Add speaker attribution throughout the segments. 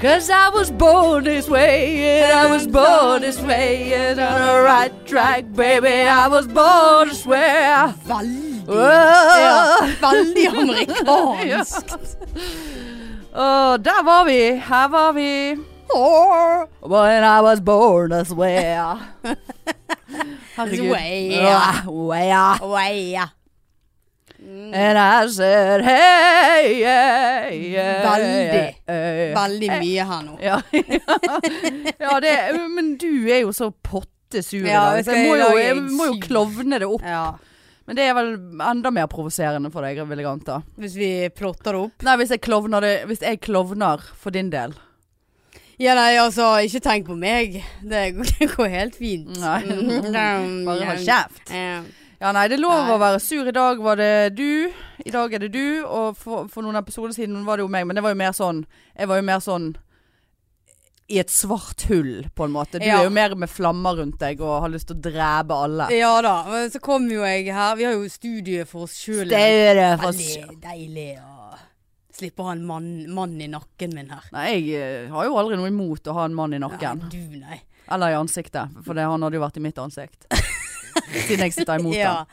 Speaker 1: Cause I was born this way, and I was born this way, and on the right track, baby, I was born Oh. this way.
Speaker 2: Veldig, ja,
Speaker 1: Åh,
Speaker 2: veldig amerikansk.
Speaker 1: Åh, der Oh, var vi. Her var vi.
Speaker 2: Åh.
Speaker 1: When I was born this way. Herregud.
Speaker 2: Way.
Speaker 1: Ja, way.
Speaker 2: Oi, ja. Mm,
Speaker 1: And I said hey, hey, hey
Speaker 2: Veldig.
Speaker 1: hey.
Speaker 2: Veldig mye her nå.
Speaker 1: Ja, ja det, men du er jo så pottesur i
Speaker 2: Ja,
Speaker 1: dag,
Speaker 2: jeg
Speaker 1: så
Speaker 2: skal
Speaker 1: jeg må
Speaker 2: i
Speaker 1: jo,
Speaker 2: dag er
Speaker 1: jeg
Speaker 2: jeg
Speaker 1: må jo
Speaker 2: sur.
Speaker 1: klovne det opp.
Speaker 2: Ja.
Speaker 1: Men det er vel enda mer provoserende for deg, vil jeg anta.
Speaker 2: Hvis vi plotter det opp.
Speaker 1: Nei, hvis jeg klovner, det, hvis jeg klovner for din del.
Speaker 2: Ja, nei, altså, ikke tenk på meg. Det går, det går helt fint. Mm,
Speaker 1: Nei. Bare
Speaker 2: Bare
Speaker 1: ha kjeft. Ja, nei, det er lov
Speaker 2: Nei.
Speaker 1: å være sur. I dag var det du. I dag er det du. Og for, for noen episoder siden var det jo meg, men det var jo mer sånn Jeg var jo mer sånn i et svart hull, på en måte. Du
Speaker 2: Ja.
Speaker 1: er jo mer med flammer rundt deg og har lyst til å drepe alle.
Speaker 2: Ja da. men Så kom jo jeg her. Vi har jo studiet for oss sjøl.
Speaker 1: Større for
Speaker 2: Veldig deilig å slippe å ha en mann, mann i nakken min her.
Speaker 1: Nei, jeg eh, har jo aldri noe imot å ha en mann i nakken.
Speaker 2: Nei, du, nei.
Speaker 1: Eller i ansiktet, for det, han hadde jo vært i mitt ansikt. Siden jeg sitter imot
Speaker 2: Ja.
Speaker 1: han.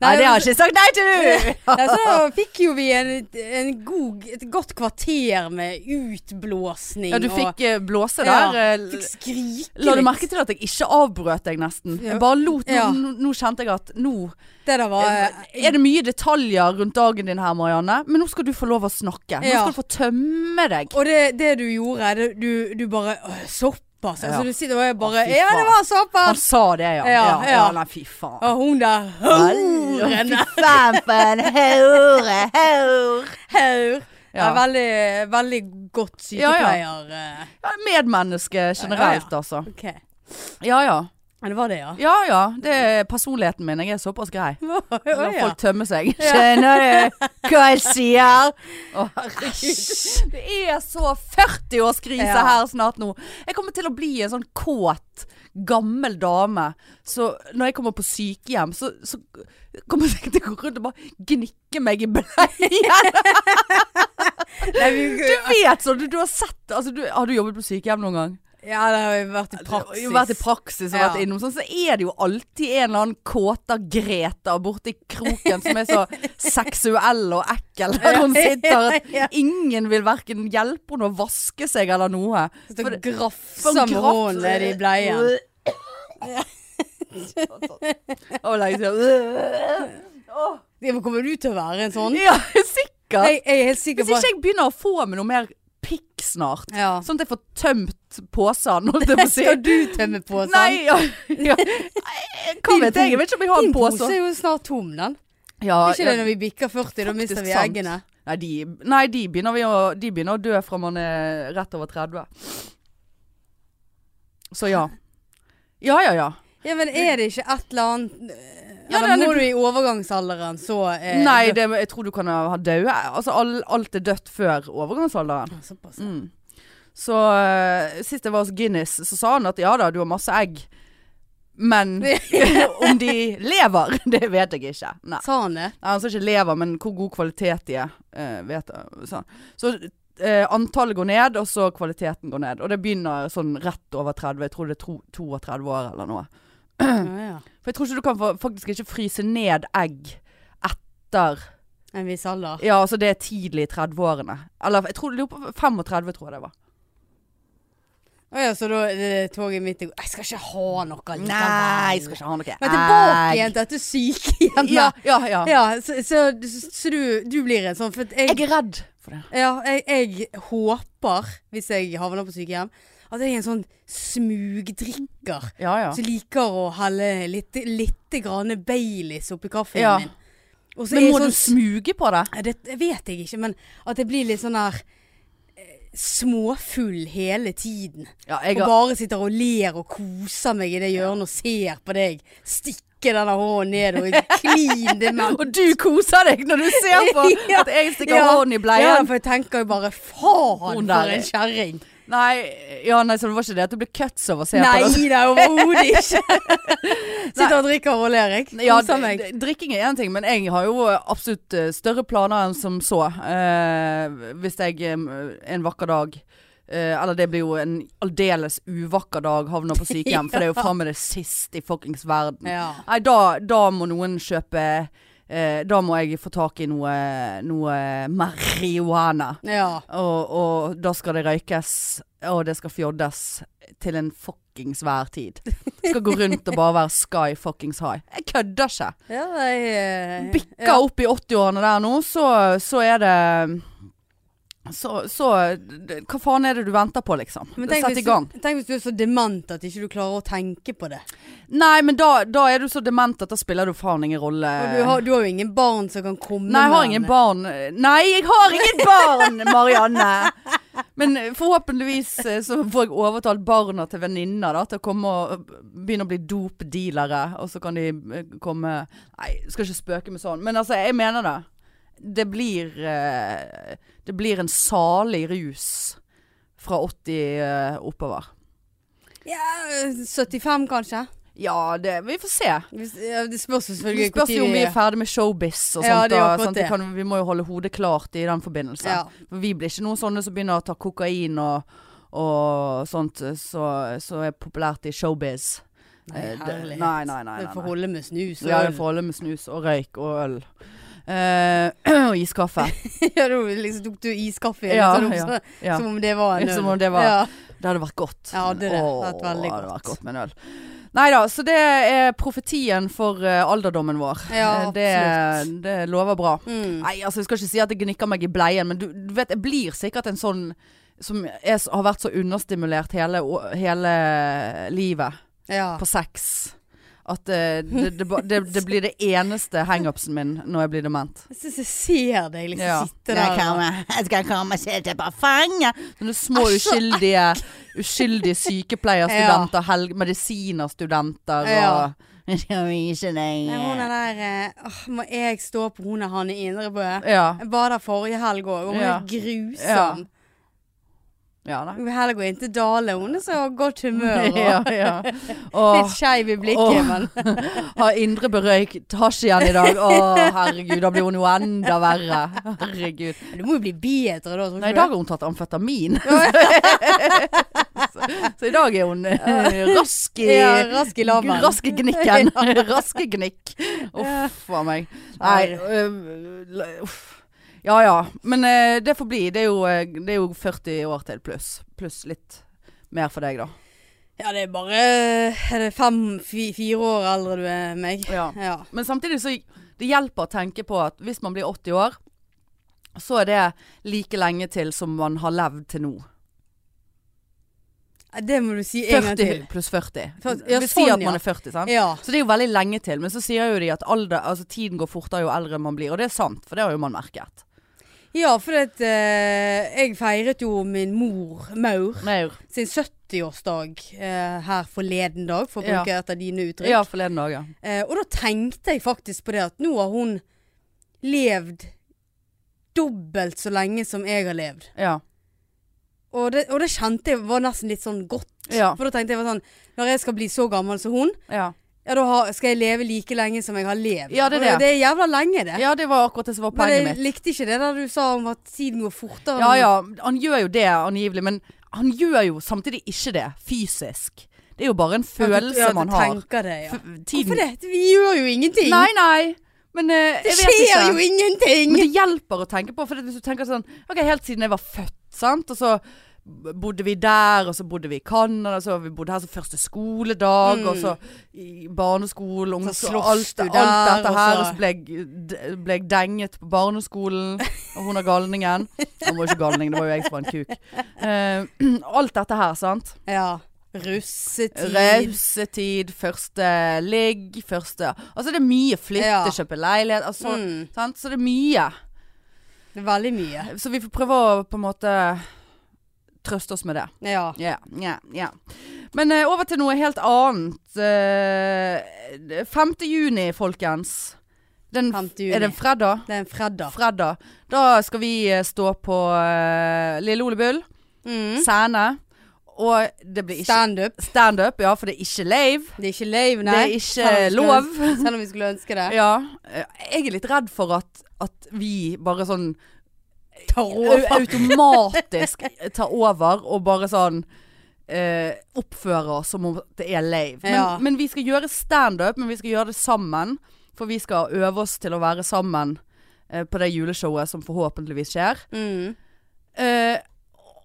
Speaker 1: Nei, det har jeg ikke sagt nei til du!
Speaker 2: Nei, så fikk jo vi en, en god, et godt kvarter med utblåsning.
Speaker 1: Ja, du fikk eh, blåse
Speaker 2: Ja,
Speaker 1: der. eh,
Speaker 2: og fikk skrike
Speaker 1: La du
Speaker 2: litt.
Speaker 1: merke til at jeg ikke avbrøt deg nesten?
Speaker 2: Ja.
Speaker 1: Jeg bare lot, nå,
Speaker 2: Ja.
Speaker 1: nå, nå kjente jeg at nå
Speaker 2: Det der var eh,
Speaker 1: Er det mye detaljer rundt dagen din her, Marianne? Men nå skal du få lov å snakke. Nå
Speaker 2: Ja.
Speaker 1: skal du få tømme deg.
Speaker 2: Og det, det du gjorde, det, du, du bare «Åh, Såpass. Altså,
Speaker 1: Ja.
Speaker 2: Du sitter og jeg bare
Speaker 1: Å, fy
Speaker 2: Ja, det
Speaker 1: faen.
Speaker 2: var
Speaker 1: Han
Speaker 2: såpass.
Speaker 1: sa det, ja. Ja,
Speaker 2: Ja,
Speaker 1: ja.
Speaker 2: ja.
Speaker 1: nei, fy faen.
Speaker 2: Og hun der Horen.
Speaker 1: faen for en hore, hore.
Speaker 2: Haur. Ja.
Speaker 1: Ja.
Speaker 2: Veldig, veldig godt
Speaker 1: Ja, ja.
Speaker 2: sykepleier. eh,
Speaker 1: Ja, medmenneske generelt,
Speaker 2: Ja,
Speaker 1: altså.
Speaker 2: Ok.
Speaker 1: Ja ja.
Speaker 2: Ja, det var det, ja.
Speaker 1: Ja ja. Det er personligheten min. Jeg er såpass grei.
Speaker 2: Å,
Speaker 1: La
Speaker 2: ja.
Speaker 1: folk tømme seg. Skjønner du hva jeg sier? Å, herregud. Det er så 40-årskrise
Speaker 2: Ja.
Speaker 1: her snart nå. Jeg kommer til å bli en sånn kåt, gammel dame. Så når jeg kommer på sykehjem, så, så kommer jeg til å gå rundt og bare gnikke meg i bleien.
Speaker 2: Nei, vi,
Speaker 1: Du vet sånn, du, du har sett altså, du, Har du jobbet på sykehjem noen gang?
Speaker 2: ja, det har jo vært i praksis.
Speaker 1: Jo, vært i praksis og
Speaker 2: Ja.
Speaker 1: vært innom sånn, så er det jo alltid en eller annen kåta Greta borti kroken som er så seksuell og ekkel der hun sitter.
Speaker 2: Ja.
Speaker 1: At ingen vil verken hjelpe henne å vaske seg eller noe.
Speaker 2: Sitter og
Speaker 1: For eh,
Speaker 2: grafser med
Speaker 1: graff-
Speaker 2: hånden nede i bleien.
Speaker 1: Og legger seg Åh.
Speaker 2: Ja, men Kommer du til å være en sånn?
Speaker 1: Ja, sikkert.
Speaker 2: Jeg, jeg er helt sikker
Speaker 1: Hvis
Speaker 2: på
Speaker 1: ikke jeg begynner å få meg noe mer pikk snart,
Speaker 2: ja.
Speaker 1: sånn at jeg får tømt posen, holdt jeg på å si.
Speaker 2: Skal du tømme posen?
Speaker 1: Nei, ja, ja. Hva
Speaker 2: Din
Speaker 1: vet jeg? Jeg vet ikke om jeg har
Speaker 2: Din
Speaker 1: en pose.
Speaker 2: pose er jo snart tom, den.
Speaker 1: altså. Ja,
Speaker 2: Er ikke
Speaker 1: ja,
Speaker 2: det når vi bikker 40, da mister vi
Speaker 1: Faktisk sant.
Speaker 2: eggene?
Speaker 1: Nei, de, nei de, begynner vi å, de begynner å dø fra man er rett over 30. Så ja. Ja, ja, ja.
Speaker 2: Ja, men er det ikke et eller annet eh,
Speaker 1: Ja,
Speaker 2: Eller
Speaker 1: det er-
Speaker 2: må du i overgangsalderen, så eh,
Speaker 1: Nei, det, jeg tror du kan ha døde. Altså, all, alt er dødt før overgangsalderen.
Speaker 2: Ja, Såpass.
Speaker 1: Mm. Så eh, sist jeg var hos Guinness, så sa han at ja da, du har masse egg. Men om de lever, det vet jeg ikke. Nei.
Speaker 2: Sa han det?
Speaker 1: Nei, han sa ikke lever, men hvor god kvalitet de er. eh, vet jeg, sa han. Så eh, antallet går ned, og så kvaliteten går ned. Og det begynner sånn rett over 30. Jeg tror det er tro- 32 år eller noe. Mm.
Speaker 2: Ja, ja.
Speaker 1: For jeg tror ikke du kan fa- faktisk ikke fryse ned egg etter
Speaker 2: En viss alder.
Speaker 1: Ja, altså det er tidlig i 30-årene. Eller jeg tror, lurer på 35, tror jeg det var.
Speaker 2: Å ja, så da er det toget mitt i går. Jeg skal ikke ha noe likevel.
Speaker 1: jeg skal ikke ha noe egg.
Speaker 2: Men tilbake igjen til dette sykehjemmet.
Speaker 1: Ja, ja, ja.
Speaker 2: Ja, så, så, så, du, du blir en sånn For at jeg,
Speaker 1: Jeg er redd for det.
Speaker 2: Ja, jeg, jeg håper, hvis jeg havner på sykehjem, at jeg er en sånn smugdrikker
Speaker 1: Ja, ja.
Speaker 2: som liker å helle litt, litt grann Baileys oppi kaffen
Speaker 1: Ja.
Speaker 2: min. Og så
Speaker 1: Men
Speaker 2: er jeg
Speaker 1: må
Speaker 2: sånn
Speaker 1: du smuge på det?
Speaker 2: Nei, Det vet jeg ikke, men at jeg blir litt sånn der eh, småfull hele tiden.
Speaker 1: Ja, jeg har
Speaker 2: Og bare sitter og ler og koser meg i det hjørnet og ser på deg. Stikke denne hånden ned og klin det med.
Speaker 1: Og du koser deg når du ser på
Speaker 2: Ja.
Speaker 1: at jeg stikker
Speaker 2: Ja.
Speaker 1: hånden i
Speaker 2: Ja,
Speaker 1: bleien.
Speaker 2: for jeg tenker jo bare
Speaker 1: Hun
Speaker 2: faen for
Speaker 1: der er-
Speaker 2: en kjerring.
Speaker 1: Nei, ja, nei, så det var ikke det at du ble cuts av å se
Speaker 2: Nei,
Speaker 1: på det?
Speaker 2: det er overhodet ikke. Sitter og drikker og ler, jeg.
Speaker 1: Ja,
Speaker 2: Koser meg.
Speaker 1: d- d- drikking er én ting, men jeg har jo absolutt eh, større planer enn som så. Eh, hvis jeg eh, en vakker dag eh, Eller det blir jo en aldeles uvakker dag havner på sykehjem, for det er jo faen meg det siste i fuckings verden.
Speaker 2: Ja.
Speaker 1: Nei, da, da må noen kjøpe eh, Da må jeg få tak i noe, noe marihuana.
Speaker 2: ja.
Speaker 1: Og, og da skal det røykes, og det skal fjoddes til en fuckings hver tid. Skal gå rundt og bare være sky fuckings high. Jeg kødder ikke.
Speaker 2: ja jeg, eh,
Speaker 1: Bikker
Speaker 2: ja.
Speaker 1: opp i 80-årene der nå, så, så er det så, så d- Hva faen er det du venter på, liksom?
Speaker 2: Men tenk
Speaker 1: Sett
Speaker 2: hvis
Speaker 1: i gang.
Speaker 2: Du, tenk hvis du er så dement at ikke du klarer å tenke på det.
Speaker 1: Nei, men da, da er du så dement at da spiller du faen ingen rolle.
Speaker 2: Og du, har, du har jo ingen barn som kan komme
Speaker 1: Nei, jeg har
Speaker 2: med
Speaker 1: ingen
Speaker 2: den.
Speaker 1: barn. Nei, jeg har ingen barn, Marianne! Men forhåpentligvis eh, så får jeg overtalt barna til venninner da, til å komme og eh, begynne å bli dopdealere. Og så kan de eh, komme Nei, jeg skal ikke spøke med sånn. Men altså, jeg mener det. Det blir eh, Det blir en salig rus fra 80 eh, oppover.
Speaker 2: Ja, 75 kanskje.
Speaker 1: Ja, det Vi får se.
Speaker 2: Hvis, ja, det spørs
Speaker 1: Det
Speaker 2: jo selvfølgelig
Speaker 1: spørs jo om vi er ferdig med showbiz og sånt.
Speaker 2: Ja, det er
Speaker 1: da,
Speaker 2: akkurat
Speaker 1: sant? Vi,
Speaker 2: det.
Speaker 1: kan, vi må jo holde hodet klart i den forbindelse.
Speaker 2: Ja.
Speaker 1: For vi blir ikke noen sånne som begynner å ta kokain og, og sånt eh, så, så er populært i showbiz.
Speaker 2: Nei,
Speaker 1: Eh, det-
Speaker 2: herlighet.
Speaker 1: nei, nei, nei,
Speaker 2: Du
Speaker 1: nei,
Speaker 2: får
Speaker 1: nei.
Speaker 2: holde med snus og
Speaker 1: Ja,
Speaker 2: øl.
Speaker 1: det får holde med snus og røyk og øl. Eh, og iskaffe.
Speaker 2: Ja, da liksom tok du iskaffe igjen,
Speaker 1: Ja,
Speaker 2: sånn,
Speaker 1: ja,
Speaker 2: så-
Speaker 1: ja.
Speaker 2: som om det var en
Speaker 1: Som
Speaker 2: øl.
Speaker 1: om det var-
Speaker 2: ja.
Speaker 1: Det hadde vært godt.
Speaker 2: Ja, det hadde det.
Speaker 1: Åh,
Speaker 2: Det hadde vært veldig
Speaker 1: hadde
Speaker 2: godt.
Speaker 1: vært godt med en øl. Nei da, så det er profetien for eh, alderdommen vår.
Speaker 2: Ja,
Speaker 1: Eh, det, det lover bra.
Speaker 2: Mm.
Speaker 1: Nei, altså jeg skal ikke si at det gnikker meg i bleien, men du, du vet, jeg blir sikkert en sånn som er, s- har vært så understimulert hele, å- hele livet
Speaker 2: Ja.
Speaker 1: på sex. At eh, det, det, ba- det, det blir det eneste hangupsen min når jeg blir dement.
Speaker 2: Jeg syns jeg ser deg liksom
Speaker 1: Ja.
Speaker 2: sitte der. og-
Speaker 1: jeg skal komme og sitte på fanget. Sånne små
Speaker 2: Æsj, så
Speaker 1: uskyldige, uskyldige sykepleierstudenter, helg, medisinerstudenter
Speaker 2: Ja.
Speaker 1: og Jeg skal vise deg.
Speaker 2: Nei, Hun er der eh, åh, Må jeg stå på hun er Hanne Indrebø?
Speaker 1: Ja.
Speaker 2: Jeg var der forrige helg òg, og hun
Speaker 1: Ja.
Speaker 2: er grusom.
Speaker 1: ja da.
Speaker 2: Hun helga inn til Dale, hun er så godt humør. Og
Speaker 1: Ja, ja. Åh.
Speaker 2: Litt skeiv i blikket,
Speaker 1: Åh.
Speaker 2: men
Speaker 1: Har indre berøyk hasj igjen i dag. Å, herregud, da blir hun jo enda verre. Herregud.
Speaker 2: Du må jo bli bedre da, tror
Speaker 1: Nei, i
Speaker 2: ikke
Speaker 1: dag
Speaker 2: du?
Speaker 1: har hun tatt amfetamin. så, så i dag er hun eh, rask i
Speaker 2: Ja, rask i labben.
Speaker 1: Raske gnikken. Raske gnikk. Uff a meg. Nei,
Speaker 2: Nei.
Speaker 1: øh, la- uff. Ja ja. Men eh, det får bli. Det er jo, eh, det er jo 40 år til pluss. Pluss litt mer for deg, da.
Speaker 2: Ja, det er bare eh, Er det fem, fi, fire år eldre du er enn meg?
Speaker 1: Ja.
Speaker 2: Ja.
Speaker 1: Men samtidig så det hjelper å tenke på at hvis man blir 80 år, så er det like lenge til som man har levd til nå.
Speaker 2: Det må du si en
Speaker 1: 40
Speaker 2: gang til.
Speaker 1: pluss 40.
Speaker 2: Først- ja,
Speaker 1: Vi sier
Speaker 2: sånn,
Speaker 1: at man
Speaker 2: ja.
Speaker 1: er 40, sant?
Speaker 2: Ja.
Speaker 1: Så det er jo veldig lenge til, men så sier jo de at alder, altså tiden går fortere jo eldre man blir, og det er sant, for det har jo man merket.
Speaker 2: ja, for at, eh, jeg feiret jo min mor, Maur,
Speaker 1: Maur.
Speaker 2: sin 70-årsdag eh, her forleden dag, for å
Speaker 1: Ja.
Speaker 2: bruke et av dine uttrykk.
Speaker 1: Ja, forleden dag, ja.
Speaker 2: Eh, og da tenkte jeg faktisk på det at nå har hun levd dobbelt så lenge som jeg har levd.
Speaker 1: Ja.
Speaker 2: Og det, og det kjente jeg var nesten litt sånn godt.
Speaker 1: Ja.
Speaker 2: For da tenkte jeg var sånn Når jeg skal bli så gammel som hun,
Speaker 1: ja.
Speaker 2: ja da har, skal jeg leve like lenge som jeg har levd.
Speaker 1: Ja, det er
Speaker 2: Og
Speaker 1: det.
Speaker 2: det er jævla lenge, det.
Speaker 1: Ja, det var akkurat det som var
Speaker 2: Men
Speaker 1: poenget
Speaker 2: jeg
Speaker 1: mitt.
Speaker 2: likte ikke det der du sa om at tiden går fortere.
Speaker 1: Ja ja,
Speaker 2: sånn-
Speaker 1: han gjør jo det angivelig, men han gjør jo samtidig ikke det fysisk. Det er jo bare en følelse
Speaker 2: ja, du
Speaker 1: man har.
Speaker 2: tenker Det, ja.
Speaker 1: F- Tiden
Speaker 2: Hvorfor det? Vi gjør jo ingenting.
Speaker 1: Nei, nei. Men eh,
Speaker 2: det
Speaker 1: jeg vet ikke.
Speaker 2: skjer jo ingenting.
Speaker 1: Men det hjelper å tenke på. For hvis du tenker sånn Ok, helt siden jeg var født, sant. Og så b- bodde vi der, og så bodde vi i Canada, og så vi bodde her så første skoledag, og så i barneskolen, ungdoms-
Speaker 2: Mm. Så
Speaker 1: og
Speaker 2: slåss
Speaker 1: alt,
Speaker 2: du
Speaker 1: alt dette
Speaker 2: der, og
Speaker 1: her.
Speaker 2: så-
Speaker 1: Og så ble jeg, d- ble jeg denget på barneskolen, og hun er galningen. Hun var ikke galning, det var jo jeg som var en kuk. Eh, alt dette her, sant.
Speaker 2: Ja. Russetid.
Speaker 1: Rausetid, første ligg, første Altså det er mye flytte,
Speaker 2: Ja.
Speaker 1: kjøpe leilighet, altså,
Speaker 2: Mm.
Speaker 1: sant? Så det er mye.
Speaker 2: Det er veldig mye.
Speaker 1: Så vi får prøve å på en måte trøste oss med det.
Speaker 2: Ja.
Speaker 1: Ja, ja, ja. Men eh, over til noe helt annet. Eh, 5. juni, folkens. Den,
Speaker 2: 5. juni.
Speaker 1: Er det en fredag?
Speaker 2: Det er en fredag.
Speaker 1: Fredag. Da skal vi eh, stå på eh, Lille Ole Bull,
Speaker 2: Mm.
Speaker 1: Sæne. Og det blir ikke
Speaker 2: Standup.
Speaker 1: standup, ja, for det er ikke lave.
Speaker 2: Det er ikke lave, nei.
Speaker 1: Det er ikke
Speaker 2: Selv om vi skulle
Speaker 1: lov.
Speaker 2: ønske- Selv om vi skulle ønske det.
Speaker 1: Ja. eh, Jeg er litt redd for at, at vi bare sånn
Speaker 2: tar over.
Speaker 1: automatisk tar over og bare sånn eh, oppfører oss som om det er lave. Men,
Speaker 2: Ja.
Speaker 1: men vi skal gjøre standup, men vi skal gjøre det sammen. For vi skal øve oss til å være sammen eh, på det juleshowet som forhåpentligvis skjer.
Speaker 2: Mm.
Speaker 1: Eh,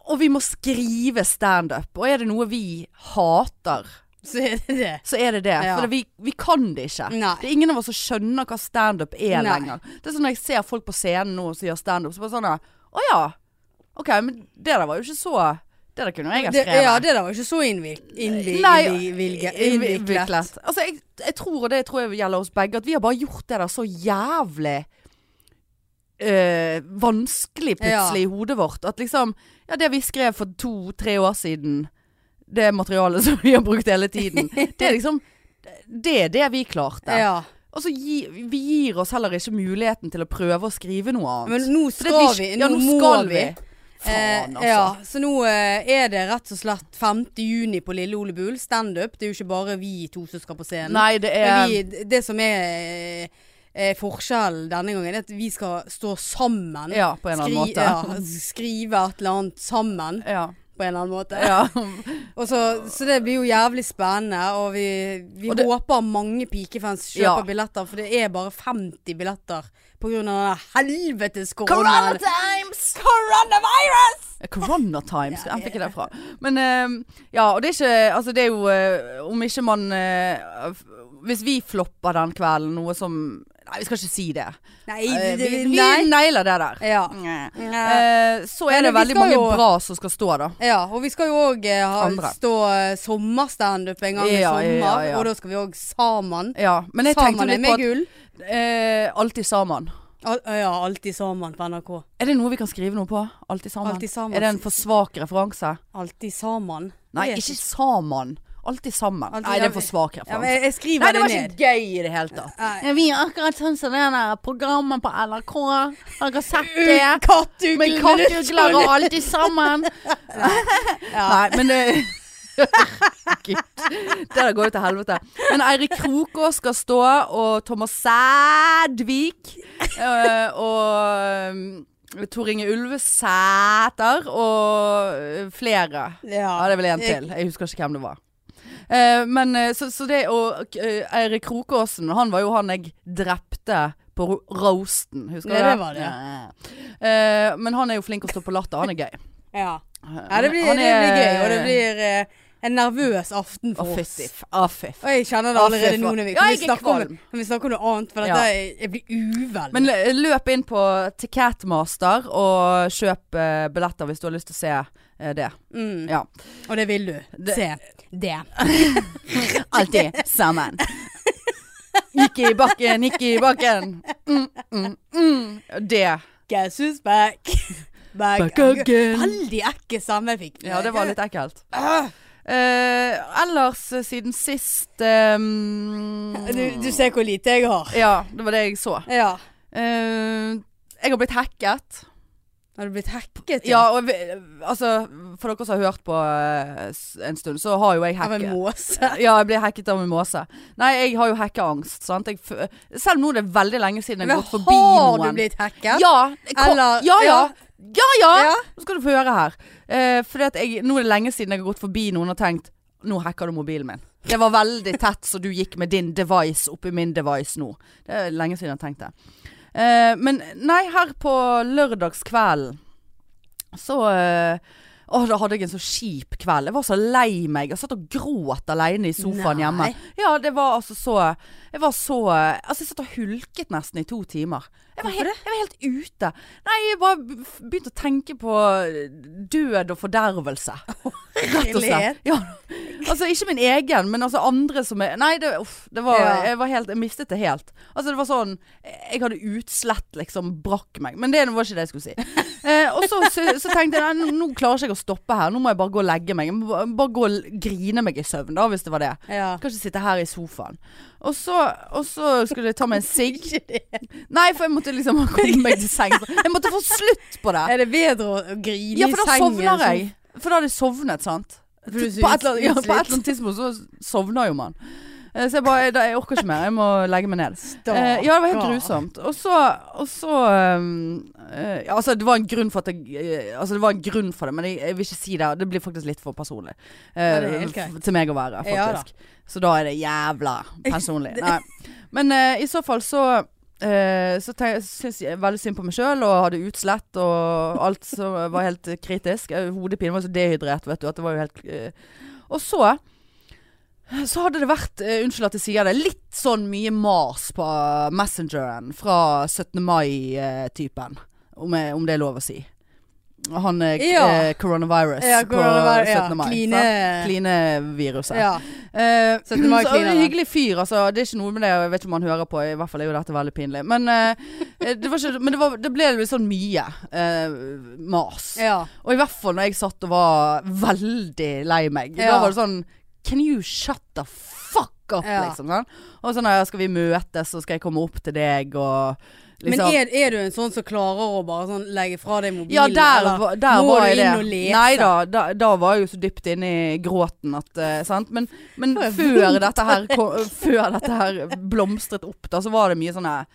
Speaker 1: og vi må skrive standup. Og er det noe vi hater,
Speaker 2: Så er det det.
Speaker 1: så er det det.
Speaker 2: Ja.
Speaker 1: For det, vi, vi kan det ikke.
Speaker 2: Nei.
Speaker 1: Det er ingen av oss som skjønner hva standup er
Speaker 2: Nei.
Speaker 1: lenger. Det er sånn når jeg ser folk på scenen nå som gjør standup, så bare sånn der, Å ja. OK, men det der var jo ikke så Det der kunne jeg ha
Speaker 2: det.
Speaker 1: skrevet.
Speaker 2: Ja, det der var ikke så innvik- innvi-
Speaker 1: Nei,
Speaker 2: innvilge- innviklet.
Speaker 1: innviklet. Altså, jeg, jeg tror, og det tror jeg gjelder oss begge, at vi har bare gjort det der så jævlig eh, vanskelig plutselig i hodet vårt. At liksom Ja, det vi skrev for to-tre år siden, det materialet som vi har brukt hele tiden, det er liksom Det er det vi klarte.
Speaker 2: Ja.
Speaker 1: Og så gi, vi gir oss heller ikke muligheten til å prøve å skrive noe annet.
Speaker 2: Men nå
Speaker 1: For det
Speaker 2: skal vi.
Speaker 1: blir-
Speaker 2: Nå,
Speaker 1: ja, nå
Speaker 2: må
Speaker 1: skal
Speaker 2: vi.
Speaker 1: Faen,
Speaker 2: Eh,
Speaker 1: altså.
Speaker 2: ja, så nå eh, er det rett og slett 5. juni på Lille Ole Bull. Standup. Det er jo ikke bare vi to som skal på scenen.
Speaker 1: Nei, eh, det
Speaker 2: Men
Speaker 1: er
Speaker 2: vi, det som er, eh, eh, forskjellen denne gangen, er at vi skal stå sammen.
Speaker 1: Ja, på en eller annen
Speaker 2: Skri,
Speaker 1: måte.
Speaker 2: ja, altså, skrive et eller annet sammen
Speaker 1: Ja.
Speaker 2: på en eller annen måte.
Speaker 1: ja.
Speaker 2: Og så, så det blir jo jævlig spennende, og vi, vi
Speaker 1: Og det-
Speaker 2: håper mange pikefans kjøper
Speaker 1: Ja.
Speaker 2: billetter, for det er bare 50 billetter på grunn av den helvetes
Speaker 1: Corona
Speaker 2: koronaen.
Speaker 1: times!
Speaker 2: Coronavirus!
Speaker 1: Eh, Corona Times, jeg fikk det derfra. Men eh, ja, og det er ikke Altså, det er jo eh, Om ikke man eh, f- Hvis vi flopper den kvelden, noe som Nei, vi skal ikke si det.
Speaker 2: Nei,
Speaker 1: Eh,
Speaker 2: det,
Speaker 1: vi, vi
Speaker 2: nei.
Speaker 1: nailer det der.
Speaker 2: Ja.
Speaker 1: Nye.
Speaker 2: Eh,
Speaker 1: Eh, så
Speaker 2: Men
Speaker 1: er det
Speaker 2: vi
Speaker 1: veldig
Speaker 2: skal
Speaker 1: mange
Speaker 2: jo-
Speaker 1: bra som skal stå, da.
Speaker 2: ja, og vi skal jo òg
Speaker 1: Andre.
Speaker 2: stå eh, sommerstandup en gang i
Speaker 1: Ja, ja,
Speaker 2: sommer,
Speaker 1: ja.
Speaker 2: og da skal vi òg sammen.
Speaker 1: Ja, men jeg tenkte
Speaker 2: Sammen er
Speaker 1: litt på
Speaker 2: med
Speaker 1: at
Speaker 2: gull.
Speaker 1: eh, Alltid sammen.
Speaker 2: Al eh, ja, alltid sammen på NRK.
Speaker 1: Er det noe vi kan skrive noe på? Alltid sammen?
Speaker 2: Alltid sammen.
Speaker 1: Er det en for svak referanse?
Speaker 2: Alltid sammen.
Speaker 1: Nei,
Speaker 2: Jeg vet
Speaker 1: ikke sammen. Alltid sammen.
Speaker 2: Alltid-
Speaker 1: Nei, det er for svak
Speaker 2: Ja,
Speaker 1: referanse.
Speaker 2: men jeg, jeg skriver
Speaker 1: Nei, det
Speaker 2: det,
Speaker 1: var
Speaker 2: ned.
Speaker 1: ikke gøy i det hele tatt.
Speaker 2: Nei.
Speaker 1: Ja, Vi er akkurat sånn som det der programmet på NRK. Har dere sett
Speaker 2: Uh, Kattuglene
Speaker 1: Med kattugler og alt sammen. Nei, men det Gud. Det der går jo til helvete. Men Eirik Krokås skal stå, og Thomas Sædvik. eh, og eh, Tor Inge Ulvesæter. Og eh, flere.
Speaker 2: Ja,
Speaker 1: Ja, det er vel en til. Jeg husker ikke hvem det var. Eh, men eh, så, så det Og eh, Eirik Krokåsen, han var jo han jeg drepte på ro- roasten, husker du
Speaker 2: Ja, det var det.
Speaker 1: Ja. Eh, men han er jo flink å stå på latter, han er gøy.
Speaker 2: Ja, ja det, blir,
Speaker 1: Han
Speaker 2: det blir
Speaker 1: er-
Speaker 2: gøy, og det blir eh, en nervøs aften
Speaker 1: Å,
Speaker 2: for
Speaker 1: fy
Speaker 2: oss.
Speaker 1: fiff. Å, fy fiff.
Speaker 2: Og jeg kjenner det
Speaker 1: Å, fy
Speaker 2: allerede nå
Speaker 1: faen.
Speaker 2: når vi,
Speaker 1: Ja,
Speaker 2: kan vi
Speaker 1: jeg er
Speaker 2: snakke om,
Speaker 1: kvalm.
Speaker 2: kan vi snakke om noe annet, for
Speaker 1: Ja.
Speaker 2: dette, jeg, jeg blir uvel.
Speaker 1: Men lø- løp inn på til Catmaster og kjøp eh, billetter hvis du har lyst til å se eh, det.
Speaker 2: mm.
Speaker 1: Ja.
Speaker 2: Og det vil du.
Speaker 1: Det-
Speaker 2: Se. Det.
Speaker 1: Alltid sammen. Gikk i bakken, gikk i bakken. Mm, mm, mm. Det.
Speaker 2: Guess who's back? back,
Speaker 1: Back again.
Speaker 2: Veldig ekkel stemme jeg fikk.
Speaker 1: Ja, det var litt ekkelt.
Speaker 2: Ah,
Speaker 1: Eh, ellers, eh, siden sist ehm,
Speaker 2: du, du ser hvor lite jeg har.
Speaker 1: Ja, det var det jeg så.
Speaker 2: Ja.
Speaker 1: Eh, jeg har blitt hacket.
Speaker 2: Har du blitt hacket?
Speaker 1: Ja, og vi- altså For dere som har hørt på eh, s- en stund, så har jo jeg
Speaker 2: Av en
Speaker 1: hacket.
Speaker 2: måse?
Speaker 1: Eh, Ja, jeg ble hacket av en måse. Nei, jeg har jo hackeangst. Sant? Jeg, f- selv om nå det er veldig lenge siden jeg
Speaker 2: Men
Speaker 1: har gått forbi
Speaker 2: har
Speaker 1: noen.
Speaker 2: du blitt hacket?
Speaker 1: Ja, jeg kom,
Speaker 2: Eller-
Speaker 1: ja, ja.
Speaker 2: ja.
Speaker 1: Ja, ja.
Speaker 2: Ja.
Speaker 1: Nå skal du få høre her. Eh, fordi at jeg, nå er det lenge siden jeg har gått forbi noen og tenkt Nå hacker du mobilen min. Det var veldig tett så du gikk med din device oppi min device nå. Det er lenge siden jeg har tenkt det. Eh, men nei, her på lørdagskvelden så eh, Å, da hadde jeg en så kjip kveld. Jeg var så lei meg. Jeg satt og gråt alene i sofaen
Speaker 2: Nei.
Speaker 1: hjemme. Ja, det var altså så Jeg var så Altså, jeg satt og hulket nesten i to timer. Jeg var, helt, jeg var helt ute. Nei, jeg bare b- begynte å tenke på død og fordervelse. Rett og
Speaker 2: Herlighet.
Speaker 1: slett. Ja. Altså, ikke min egen, men altså andre som er Nei, det, uff, det var
Speaker 2: Ja.
Speaker 1: jeg, var helt, jeg mistet det helt. Altså, det var sånn Jeg hadde utslett, liksom, brakk meg. Men det var ikke det jeg skulle si. Eh, og så, så, så tenkte jeg nei, nå klarer ikke jeg å stoppe her. Nå må jeg bare gå og legge meg. Jeg må ba- bare gå og grine meg i søvn, da, hvis det var det.
Speaker 2: Ja.
Speaker 1: Jeg kan ikke sitte her i sofaen. Og så, og så skulle jeg ta meg en sigg. Nei, for jeg måtte liksom komme meg til sengs. Jeg måtte få slutt på det.
Speaker 2: Er det bedre å grine
Speaker 1: Ja, for
Speaker 2: i
Speaker 1: da
Speaker 2: sengen?
Speaker 1: sovner
Speaker 2: som-
Speaker 1: jeg. For da hadde jeg sovnet, sant. På
Speaker 2: For du
Speaker 1: et,
Speaker 2: er så
Speaker 1: eller annet, ja,
Speaker 2: utslitt.
Speaker 1: på et eller annet tidspunkt så sovner jo man. Eh, Så jeg bare da, Jeg orker ikke mer, jeg må legge meg ned. Eh, ja, det var helt grusomt. Og så, og så um, eh, ja, Altså, det var en grunn for at jeg eh, Altså, det var en grunn for det, men jeg, jeg vil ikke si det. Det blir faktisk litt for personlig. eh,
Speaker 2: Ja, det er helt
Speaker 1: f-
Speaker 2: greit.
Speaker 1: til meg å være,
Speaker 2: Ja da.
Speaker 1: faktisk. så da er det jævla personlig. Nei. Men eh, i så fall så eh, så tenk- syns jeg veldig synd på meg sjøl, og hadde utslett og alt som var helt eh, kritisk. Eh, Hodepine var så dehydrert, vet du, at det var jo helt eh, og så så hadde det vært, eh, unnskyld at jeg sier det, litt sånn mye mas på Messengeren fra 17. mai-typen. Om, jeg- om det er lov å si. Han er
Speaker 2: Ja.
Speaker 1: eh, coronavirus
Speaker 2: Ja,
Speaker 1: på
Speaker 2: hvordan det var, ja,
Speaker 1: 17. mai.
Speaker 2: Kline.
Speaker 1: sant? Klineviruset.
Speaker 2: Ja.
Speaker 1: Eh,
Speaker 2: 17. mai
Speaker 1: så
Speaker 2: clean,
Speaker 1: en
Speaker 2: da.
Speaker 1: hyggelig fyr, altså. Det er ikke noe med det, og jeg vet ikke om han hører på. I hvert fall er jo dette veldig pinlig. Men, eh, det, var ikke, men det, var, det ble litt sånn mye eh, mas.
Speaker 2: ja.
Speaker 1: Og i hvert fall når jeg satt og var veldig lei meg. Da
Speaker 2: Ja.
Speaker 1: var det sånn Can you shut the fuck up?
Speaker 2: Ja.
Speaker 1: Liksom sånn. Og sånn ja, skal vi møtes, så skal jeg komme opp til deg og
Speaker 2: Men
Speaker 1: liksom
Speaker 2: er, er du en sånn som klarer å bare sånn legge fra deg mobilen?
Speaker 1: ja, der,
Speaker 2: eller
Speaker 1: var- der
Speaker 2: må
Speaker 1: var
Speaker 2: du
Speaker 1: jeg det.
Speaker 2: inn og lese?
Speaker 1: Nei da, da, da var jeg jo så dypt inne i gråten at eh, sant? Men, men
Speaker 2: Det var
Speaker 1: før, dette her, kom- før dette her blomstret opp, da, så var det mye sånn her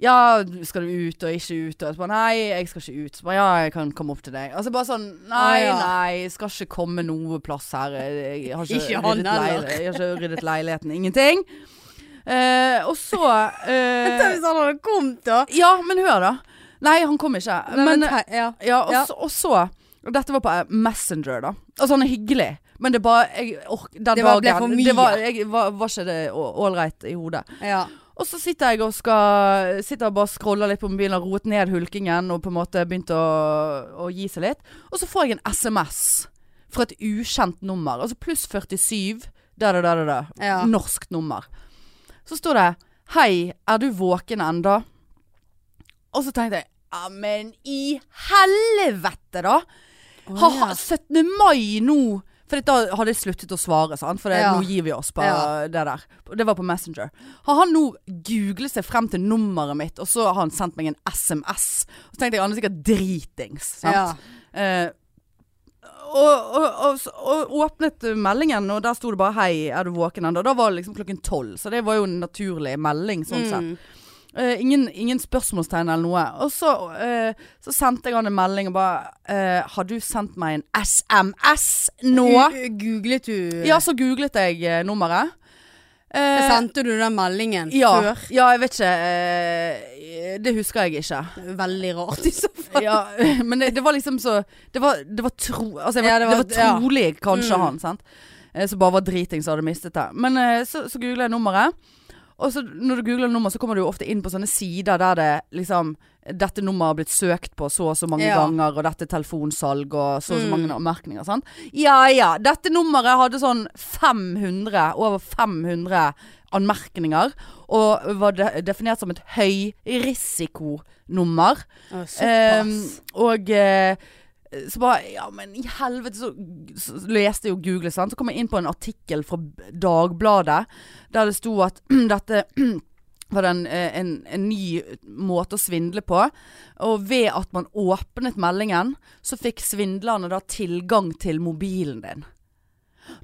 Speaker 1: Ja, skal du ut og ikke ut? Og jeg bare nei, jeg skal ikke ut. Så bare ja, jeg kan komme opp til deg. Altså bare sånn
Speaker 2: Å,
Speaker 1: nei,
Speaker 2: ja.
Speaker 1: nei, jeg skal ikke komme noe plass her. Jeg jeg har ikke,
Speaker 2: Ikke han
Speaker 1: ryddet leil-
Speaker 2: heller.
Speaker 1: Jeg har ikke ryddet leiligheten. Ingenting. Eh, og så eh,
Speaker 2: Tenk Hvis han hadde kommet, da.
Speaker 1: Ja, men hør, da. Nei, han kom ikke.
Speaker 2: Nei,
Speaker 1: men eh,
Speaker 2: men te- ja.
Speaker 1: ja, og,
Speaker 2: Ja.
Speaker 1: Så, og så og Dette var på eh, Messenger, da. Altså, han er hyggelig, men det er bare jeg, ork- Den
Speaker 2: Det var-
Speaker 1: dagen
Speaker 2: ble for mye.
Speaker 1: Det var, jeg, var, var ikke det ålreit i hodet.
Speaker 2: ja.
Speaker 1: Og så sitter jeg og skal Sitter og bare scroller litt på mobilen og roet ned hulkingen og på en måte begynt å, å gi seg litt. Og så får jeg en SMS fra et ukjent nummer. Altså pluss 47, da da da da da.
Speaker 2: Ja.
Speaker 1: Norskt nummer. Så står det 'Hei, er du våken enda?' Og så tenkte jeg Ja, men i helvete, da! Ha, ha, 17. mai nå For da hadde jeg sluttet å svare, sant? for det,
Speaker 2: Ja.
Speaker 1: nå gir vi oss på
Speaker 2: Ja.
Speaker 1: det der. Det var på Messenger. Har han nå googlet seg frem til nummeret mitt, og så har han sendt meg en SMS? Så tenkte jeg han er sikkert dritings. Sant?
Speaker 2: Ja.
Speaker 1: Eh, og, og, og, s- og åpnet meldingen, og der sto det bare 'Hei, er du våken ennå?' Da var det liksom klokken tolv, så det var jo en naturlig melding sånn sett.
Speaker 2: Mm.
Speaker 1: Eh, ingen, ingen spørsmålstegn eller noe. Og så, eh, så sendte jeg han en melding og bare eh, 'Har du sendt meg en SMS nå?'
Speaker 2: U- u- Googlet du
Speaker 1: Ja, så googlet jeg eh, nummeret. Eh,
Speaker 2: Sendte du den meldingen
Speaker 1: ja,
Speaker 2: før?
Speaker 1: ja, jeg vet ikke. eh, det husker jeg ikke.
Speaker 2: Veldig rart i så fall.
Speaker 1: Ja, men det, det var liksom så Det var, det var, tro, altså, jeg var,
Speaker 2: Ja, det
Speaker 1: det
Speaker 2: var-
Speaker 1: var,
Speaker 2: ja.
Speaker 1: trolig kanskje
Speaker 2: Mm.
Speaker 1: han, sant? Eh, Som bare var driting som hadde mistet det. Men eh, så, så googler jeg nummeret. Og så når du googler nummer, så kommer du jo ofte inn på sånne sider der det liksom Dette nummeret har blitt søkt på så og så mange
Speaker 2: Ja.
Speaker 1: ganger, og dette er telefonsalg og så og så
Speaker 2: Mm.
Speaker 1: mange anmerkninger. Sant? Ja ja. Dette nummeret hadde sånn 500, over 500 anmerkninger. Og var de definert som et høyrisikonummer.
Speaker 2: Å, Såpass.
Speaker 1: Ehm, og eh, så bare Ja, men i helvete, så, så leste jeg jo Google, sant. Så kom jeg inn på en artikkel fra Dagbladet der det sto at dette var det en, eh, en, en ny måte å svindle på. Og ved at man åpnet meldingen, så fikk svindlerne da tilgang til mobilen din.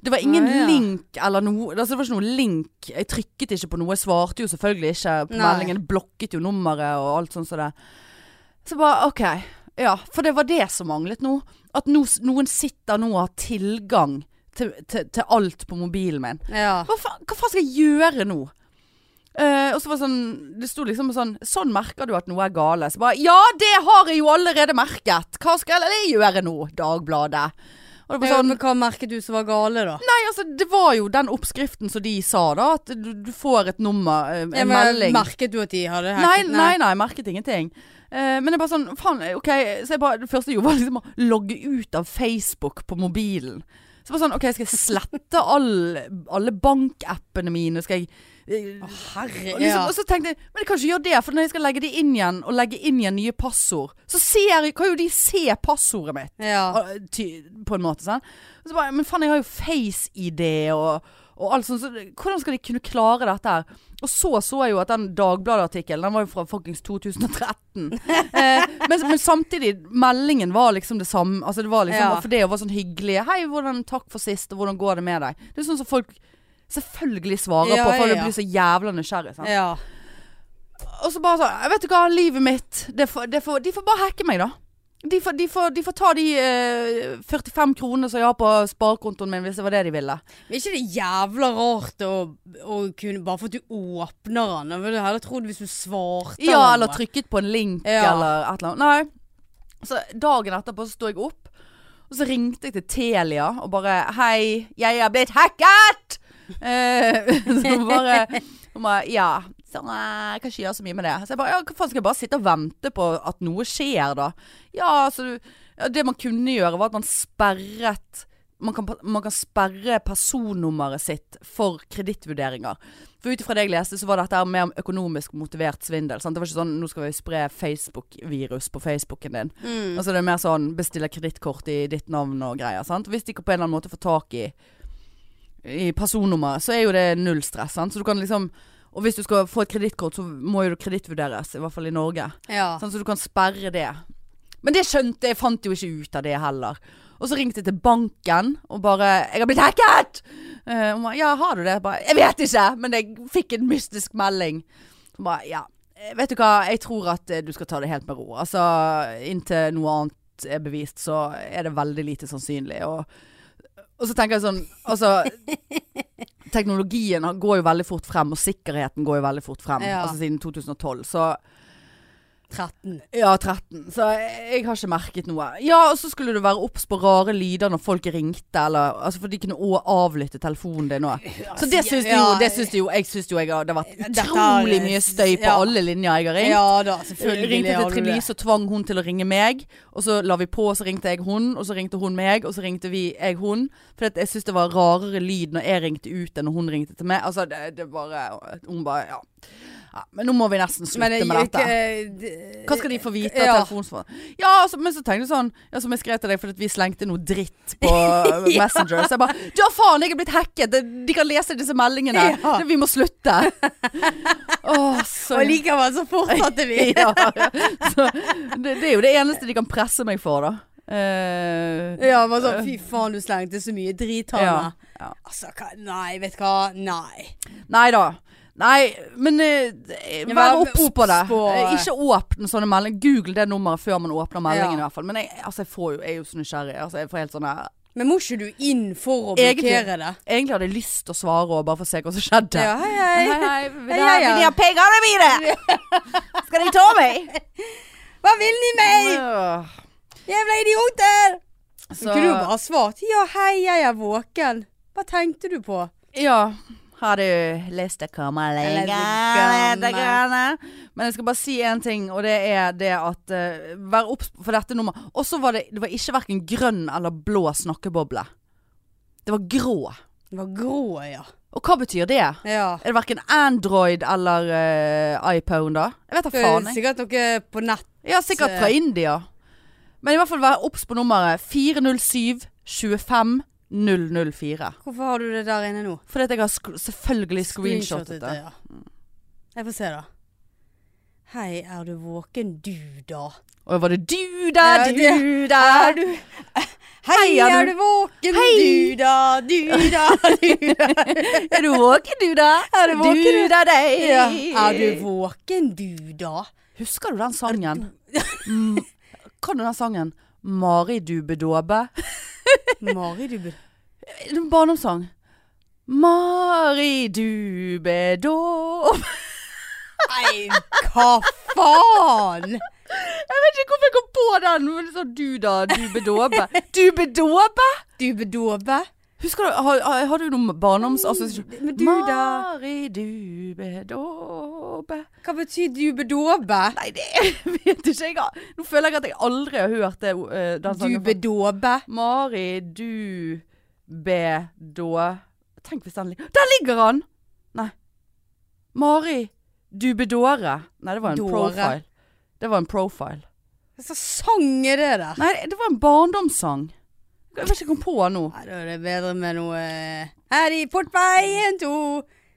Speaker 1: Det var ingen
Speaker 2: Ah, ja.
Speaker 1: link eller noe altså Det var ikke noe link. Jeg trykket ikke på noe. Jeg svarte jo selvfølgelig ikke på
Speaker 2: Nei.
Speaker 1: meldingen. Blokket jo nummeret og alt sånt som det. Så bare OK. Ja, for det var det som manglet nå. At no, noen sitter nå og har tilgang til, til, til alt på mobilen min.
Speaker 2: ja.
Speaker 1: Hva faen, hva faen skal jeg gjøre nå? Eh, og så var det sånn Det sto liksom sånn Sånn merker du at noe er gale. Så bare Ja, det har jeg jo allerede merket! Hva skal jeg gjøre nå, Dagbladet? Og det var
Speaker 2: Men
Speaker 1: sånn
Speaker 2: men hva merket du som var gale, da?
Speaker 1: Nei, altså, det var jo den oppskriften som de sa, da. At du, du får et nummer, eh, en
Speaker 2: Ja, men
Speaker 1: melding.
Speaker 2: Merket du at de hadde
Speaker 1: Nei, nei, nei, merket ingenting. Eh, men det er bare sånn, faen, ok, så jeg bare, det første jeg gjorde var liksom å logge ut av Facebook på mobilen. Så bare sånn, ok, skal jeg slette all, alle bankappene mine, skal jeg... eh,
Speaker 2: Å, herre
Speaker 1: og, liksom, og så tenkte jeg, men jeg kan ikke gjøre det, for når jeg skal legge de inn igjen, og legge inn igjen nye passord, så ser, jeg- kan jo de se passordet mitt.
Speaker 2: ja. ja.
Speaker 1: Ah, ty- På en måte sånn Og så bare, men faen jeg har jo face-ID og, og alt sånt så det- Hvordan skal de kunne klare dette her? Og så så jeg jo at den Dagbladet-artikkelen Den var jo fra fuckings 2013 eh, men, men samtidig Meldingen var liksom det samme Altså det var liksom
Speaker 2: Ja.
Speaker 1: bare For det å være sånn hyggelig Hei, hvordan, takk for sist Og hvordan går det med deg? Det er sånn som folk selvfølgelig svarer
Speaker 2: Ja,
Speaker 1: på, for
Speaker 2: ja,
Speaker 1: du
Speaker 2: ja.
Speaker 1: blir så jævla nysgjerrig. Sant?
Speaker 2: Ja.
Speaker 1: Og så bare sånn, vet du hva, livet mitt det får, det får, De får bare hacke meg da De får, de får, de får ta de eh, 45 kroner som jeg har på sparekontoen min Hvis det var det de ville
Speaker 2: Men er ikke det jævla rart å, å kunne Bare for at du åpner den. Jeg ville heller trodd hvis du svarte
Speaker 1: Ja,
Speaker 2: noe.
Speaker 1: eller trykket på en link
Speaker 2: Ja.
Speaker 1: Eller et eller annet Nei Så dagen etterpå så stod jeg opp Og så ringte jeg til Telia Og bare, hei, jeg er blitt hacket Eh, Så bare, hun bare Ja, så, eh, jeg kan ikke gjøre så mye med det Så jeg bare, ja, hva faen skal jeg bare sitte og vente på At noe skjer da Ja, altså du- ja, Det man kunne gjøre var at man sperret man kan, man kan sperre personnummeret sitt for kredittvurderinger. For ut ifra det jeg leste, så var dette her mer om økonomisk motivert svindel. Sant? Det var ikke sånn 'nå skal vi spre Facebook-virus på Facebooken din'.
Speaker 2: Mm.
Speaker 1: Altså det er mer sånn 'bestiller kredittkort i ditt navn' og greier. Sant? Hvis de ikke på en eller annen måte får tak i, i personnummeret, så er jo det null stress. Sant? Så du kan liksom Og hvis du skal få et kredittkort, så må jo det kredittvurderes. I hvert fall i Norge.
Speaker 2: Ja.
Speaker 1: Sånn, så du kan sperre det. Men det skjønte jeg, fant jo ikke ut av det heller. Og så ringte jeg til banken og bare 'Jeg har blitt hacket!' Eh, hun bare 'Ja, har du det?' Jeg bare 'Jeg vet ikke', men jeg fikk en mystisk melding. Hun bare 'Ja, eh, vet du hva, jeg tror at eh, du skal ta det helt med ro'. Altså, inntil noe annet er bevist, så er det veldig lite sannsynlig. Og, og så tenker jeg sånn Altså Teknologien har- går jo veldig fort frem, og sikkerheten går jo veldig fort frem.
Speaker 2: Ja.
Speaker 1: Altså siden 2012. Så
Speaker 2: 13.
Speaker 1: ja, 13. Så jeg, jeg har ikke merket noe. Ja, og så skulle du være obs på rare lyder når folk ringte, eller Altså, for de kunne òg avlytte telefonen din òg. Så det syns du jo, det syns du jo. Jeg syns jo jeg har Det har vært
Speaker 2: Dette har-
Speaker 1: utrolig mye støy på
Speaker 2: ja.
Speaker 1: alle linjer jeg har ringt.
Speaker 2: Ja da,
Speaker 1: Jeg
Speaker 2: selvfølgelig.
Speaker 1: ringte
Speaker 2: har
Speaker 1: til
Speaker 2: du
Speaker 1: Trine
Speaker 2: det.
Speaker 1: Lise og tvang hun til å ringe meg. Og så la vi på, og så ringte jeg hun, og så ringte hun meg, og så ringte vi jeg hun. For at jeg syntes det var rarere lyd når jeg ringte ut enn når hun ringte til meg. Altså, det, det bare Hun bare ja. ja. Men nå må vi nesten slutte
Speaker 2: Men det
Speaker 1: med
Speaker 2: gikk
Speaker 1: dette.
Speaker 2: eh,
Speaker 1: Hva skal de få vite
Speaker 2: Ja.
Speaker 1: av telefonsvar? Ja, altså, men så tenkte jeg sånn ja, Som jeg skrev til deg fordi at vi slengte noe dritt på Messenger. Så jeg bare Ja, faen, jeg er blitt hacket! Det- De kan lese disse meldingene!
Speaker 2: Ja.
Speaker 1: Vi må slutte! Åh, så
Speaker 2: Og likevel så fortsatte vi.
Speaker 1: ja. så, det, det er jo det eneste de kan presse meg for, da. Eh,
Speaker 2: Ja, men sånn, fy faen, du slengte så mye drit, Hanne.
Speaker 1: Ja, ja.
Speaker 2: Altså, hva? nei, vet du hva. Nei.
Speaker 1: nei da. Nei, men eh, vær
Speaker 2: vær
Speaker 1: obs på det.
Speaker 2: obs på-
Speaker 1: Eh, ikke åpne sånne meldinger. Google det nummeret før man åpner meldingen, i
Speaker 2: Ja.
Speaker 1: hvert fall. Men jeg, altså, jeg, får jo, jeg er jo så nysgjerrig. Altså, jeg får helt sånn her
Speaker 2: Men må ikke du inn for å
Speaker 1: Egentlig.
Speaker 2: blokkere det?
Speaker 1: Egentlig hadde jeg lyst til å svare og bare for å se hva som skjedde.
Speaker 2: Ja, hei, hei.
Speaker 1: hei, vil
Speaker 2: Hei, hei, ja.
Speaker 1: pengene mine? Skal de ta meg?
Speaker 2: Hva vil de meg? Jævla idioter! Så
Speaker 1: Så,
Speaker 2: kunne du jo bare svart ja, hei, jeg er våken. Hva tenkte du på?
Speaker 1: ja. Har du lyst til å komme
Speaker 2: Eller
Speaker 1: lenger?
Speaker 2: til å
Speaker 1: Grann? Men jeg skal bare si én ting, og det er det at eh, Vær obs på dette nummeret. Og så var det, det var ikke verken grønn eller blå snakkeboble. Det var grå.
Speaker 2: Det var grå, ja.
Speaker 1: Og hva betyr det?
Speaker 2: Ja.
Speaker 1: Er det verken Android eller eh, iPhone, da? Jeg vet da
Speaker 2: Det
Speaker 1: faen.
Speaker 2: er
Speaker 1: jeg.
Speaker 2: sikkert noe på nett.
Speaker 1: Ja, sikkert fra India. Men i hvert fall være obs på nummeret 407 25 004.
Speaker 2: Hvorfor har du det der inne nå?
Speaker 1: Fordi at jeg har sk selvfølgelig screenshotet det.
Speaker 2: ja. Jeg får se, da. Hei, er du våken, du, da?
Speaker 1: Og var det du der,
Speaker 2: Ja, det-
Speaker 1: du der?
Speaker 2: Er du Hei,
Speaker 1: er
Speaker 2: er
Speaker 1: du-
Speaker 2: du våken,
Speaker 1: Hei!
Speaker 2: du, da? Du, da? Du, da?
Speaker 1: Er du våken, du da? Er
Speaker 2: du våken,
Speaker 1: du
Speaker 2: du?
Speaker 1: da, deg?
Speaker 2: Ja. Er du våken, du, da?
Speaker 1: Husker du den sangen? Mm. Kan du den sangen? Mari du bedåbe?
Speaker 2: Mari, du burde
Speaker 1: Det er En barndomssang. Mari du bedåbe
Speaker 2: Nei, hva faen?
Speaker 1: Jeg vet ikke hvorfor jeg kom på den. men Så sånn, du da, du bedåbe. Du bedåbe?
Speaker 2: Du bedåbe?
Speaker 1: Husker du, har, har- har du noen barndomsassosiasjon?
Speaker 2: Men du, da?
Speaker 1: Mari, du bedåbe.
Speaker 2: Hva betyr du bedåbe?
Speaker 1: Nei, det vet ikke jeg. Nå føler jeg at jeg aldri har hørt det, eh, den
Speaker 2: Du
Speaker 1: sangen. før.
Speaker 2: bedåbe?
Speaker 1: Mari, du bedå... Tenk hvis den ligger Der ligger han! Nei. Mari, du bedåre. Nei, det var en
Speaker 2: Dåre.
Speaker 1: profile. Det var en profile.
Speaker 2: Hva slags sang er det der?
Speaker 1: Nei, det var en barndomssang. Jeg vet ikke om jeg kom på nå.
Speaker 2: Nei, da er det bedre med noe eh, Her i Portveien 2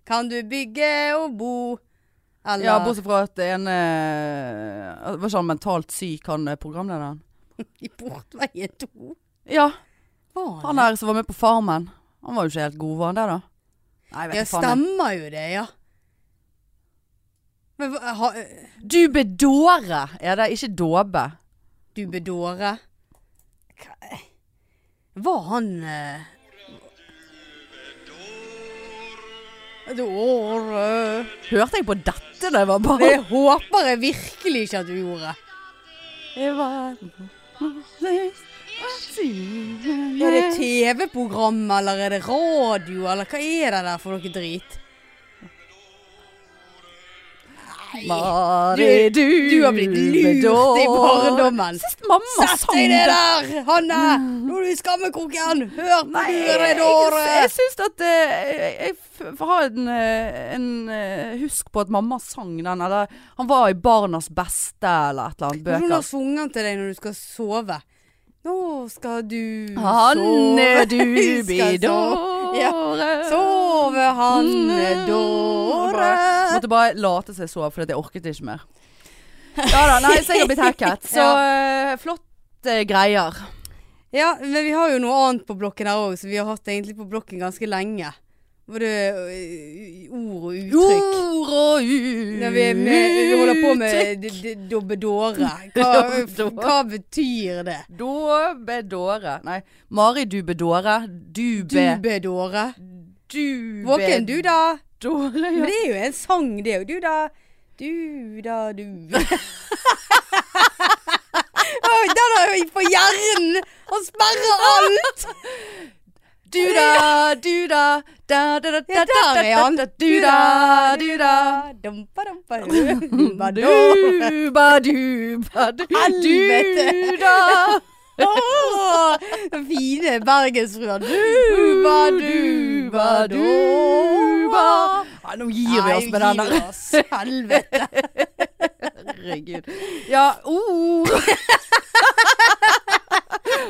Speaker 2: kan du bygge og bo. Eller
Speaker 1: Ja, bortsett fra at det ene eh, Var ikke han mentalt syk, han eh, programlederen?
Speaker 2: i Portveien 2.
Speaker 1: Ja,
Speaker 2: Faen.
Speaker 1: han der som var med på Farmen. Han var jo ikke helt god, var han det da? Nei, jeg
Speaker 2: Ja,
Speaker 1: vet faen.
Speaker 2: stemmer jo det, ja. Men hva- ha,
Speaker 1: Du bedåre er det, ikke dåbe.
Speaker 2: du bedåre. Hva- Var han eh, Bedåre
Speaker 1: Hørte jeg på dette da jeg var barn?
Speaker 2: Det håper jeg virkelig ikke at du gjorde.
Speaker 1: Det var
Speaker 2: Er det TV-program, eller er det radio, eller hva er det der for noe drit?
Speaker 1: Mari, du,
Speaker 2: Du har blitt lurt i barndommen.
Speaker 1: Sist mamma
Speaker 2: Sett deg ned der, Hanne! Nå er du i skammekroken! Hør på
Speaker 1: Nei,
Speaker 2: du
Speaker 1: jeg,
Speaker 2: det
Speaker 1: jeg, jeg
Speaker 2: dåret!
Speaker 1: syns at eh, Jeg, jeg f- har en, eh, en eh, husk på at mamma sang den, eller han var i Barnas beste eller et eller annet
Speaker 2: Hun har
Speaker 1: bøker.
Speaker 2: sunget den til deg når du skal sove. Nå skal du
Speaker 1: Hanne, eh, du
Speaker 2: Vi skal sove. Ja.
Speaker 1: bidåre Mm.
Speaker 2: Sove, Hanne Dåre.
Speaker 1: Måtte bare late seg sove, for jeg orket ikke mer. Ja da, nei, så jeg har blitt hacket. Så eh, flott eh, greier.
Speaker 2: Ja, men vi har jo noe annet på blokken her òg, som vi har hatt egentlig på blokken ganske lenge. Både øh, ord og uttrykk.
Speaker 1: Ord og uttrykk.
Speaker 2: Når vi, er med, vi holder på med d- d- dobbedåre. Hva,
Speaker 1: Dobbedåre.
Speaker 2: hva betyr det?
Speaker 1: Dobedåre. Nei, Mari dubedåre. Dube
Speaker 2: Dubbedåre.
Speaker 1: Dube
Speaker 2: Våken du, da?
Speaker 1: Dåre,
Speaker 2: Men
Speaker 1: ja.
Speaker 2: det er jo en sang, det er jo Du, da. Du, da, du. Oi, Den har jeg på hjernen! Han sperrer alt!
Speaker 1: Du da, du da, da da da da
Speaker 2: Ja, der er han.
Speaker 1: da, da, Du da, du da.
Speaker 2: Dumpa, dumpa, dumpa, dumpa.
Speaker 1: Duba, duba, du-
Speaker 2: Helvete.
Speaker 1: duda.
Speaker 2: Åh, den fine bergensfrua. Duba, duba, duba.
Speaker 1: Nei, nå gir vi oss med den der.
Speaker 2: oss. Helvete.
Speaker 1: Herregud. Ja, ord.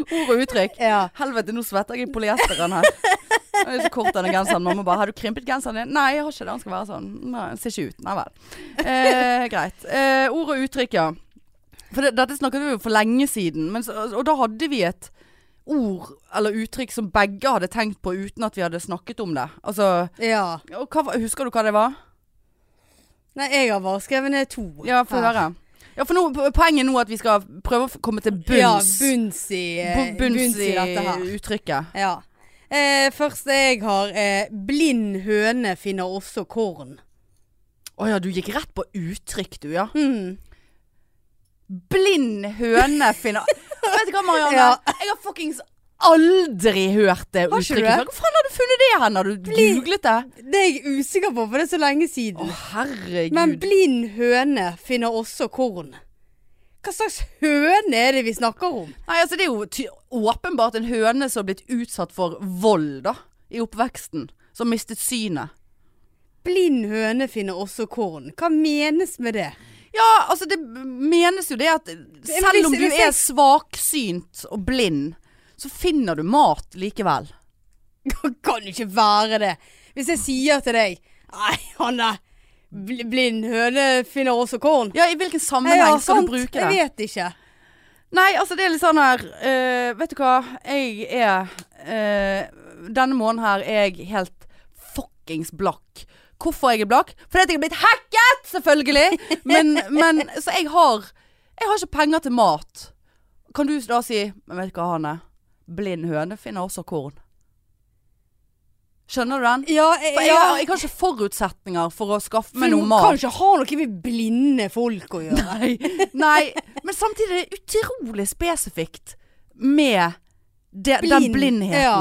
Speaker 1: Ord og uttrykk.
Speaker 2: Ja.
Speaker 1: Helvete, nå svetter jeg i polyesteren her. Den er så kort denne genseren. Mamma bare 'Har du krympet genseren din?' Nei, jeg har ikke det. Den skal være sånn. Nei, den ser ikke ut. Nei vel. Eh, greit. Eh, ord og uttrykk, ja. For det, dette snakket vi jo for lenge siden. Men, så- og da hadde vi et ord eller uttrykk som begge hadde tenkt på uten at vi hadde snakket om det. Altså
Speaker 2: ja.
Speaker 1: og hva, var- Husker du hva det var?
Speaker 2: Nei, jeg har bare skrevet ned to.
Speaker 1: Ja, få
Speaker 2: Her.
Speaker 1: høre. Ja, for nå, poenget nå er at vi skal prøve å komme til bunns.
Speaker 2: Ja, bunns i,
Speaker 1: Bu- bunns, i,
Speaker 2: dette her.
Speaker 1: uttrykket.
Speaker 2: Ja. Eh, første jeg har, eh, blind høne finner også korn.
Speaker 1: Å ja, du gikk rett på uttrykk, du, ja.
Speaker 2: Mm.
Speaker 1: Blind høne finner Vet du hva, Marianne?
Speaker 2: Ja.
Speaker 1: Jeg har fuckings aldri hørt det
Speaker 2: Har ikke
Speaker 1: uttrykket
Speaker 2: du det?
Speaker 1: før. Hvor faen har du funnet det hen? Har du googlet det?
Speaker 2: Det er jeg usikker på, for det er så lenge siden.
Speaker 1: Å, herregud.
Speaker 2: Men blind høne finner også korn. Hva slags høne er det vi snakker om?
Speaker 1: Nei, altså, det er jo ty åpenbart en høne som har blitt utsatt for vold, da. I oppveksten. Som mistet synet.
Speaker 2: Blind høne finner også korn. Hva menes med det?
Speaker 1: Ja, altså det menes jo det at selv
Speaker 2: hvis-
Speaker 1: om du
Speaker 2: hvis jeg-
Speaker 1: er svaksynt og blind, så finner du mat likevel.
Speaker 2: Det kan jo ikke være det. Hvis jeg sier til deg Nei, Hanne. bl- Blind høne finner også korn.
Speaker 1: Ja, i hvilken
Speaker 2: Nei,
Speaker 1: sammenheng skal du bruke det?
Speaker 2: Jeg vet ikke.
Speaker 1: Nei, altså det er litt sånn her eh, Vet du hva? Jeg er eh, Denne måneden her er jeg helt fuckings blakk. Hvorfor jeg er blakk? Fordi at jeg er blitt hacket, selvfølgelig! Men, men Så jeg har Jeg har ikke penger til mat. Kan du da si Men vet du hva, Hanne? Blind høne finner også korn. Skjønner du den?
Speaker 2: Ja, jeg,
Speaker 1: For jeg,
Speaker 2: ja,
Speaker 1: har, jeg har ikke forutsetninger for å skaffe meg
Speaker 2: for
Speaker 1: noe
Speaker 2: du
Speaker 1: mat.
Speaker 2: kan ikke ha noe med blinde folk å gjøre.
Speaker 1: Nei. Nei, men samtidig er det utrolig spesifikt med de, den
Speaker 2: Blind,
Speaker 1: blindheten.
Speaker 2: ja.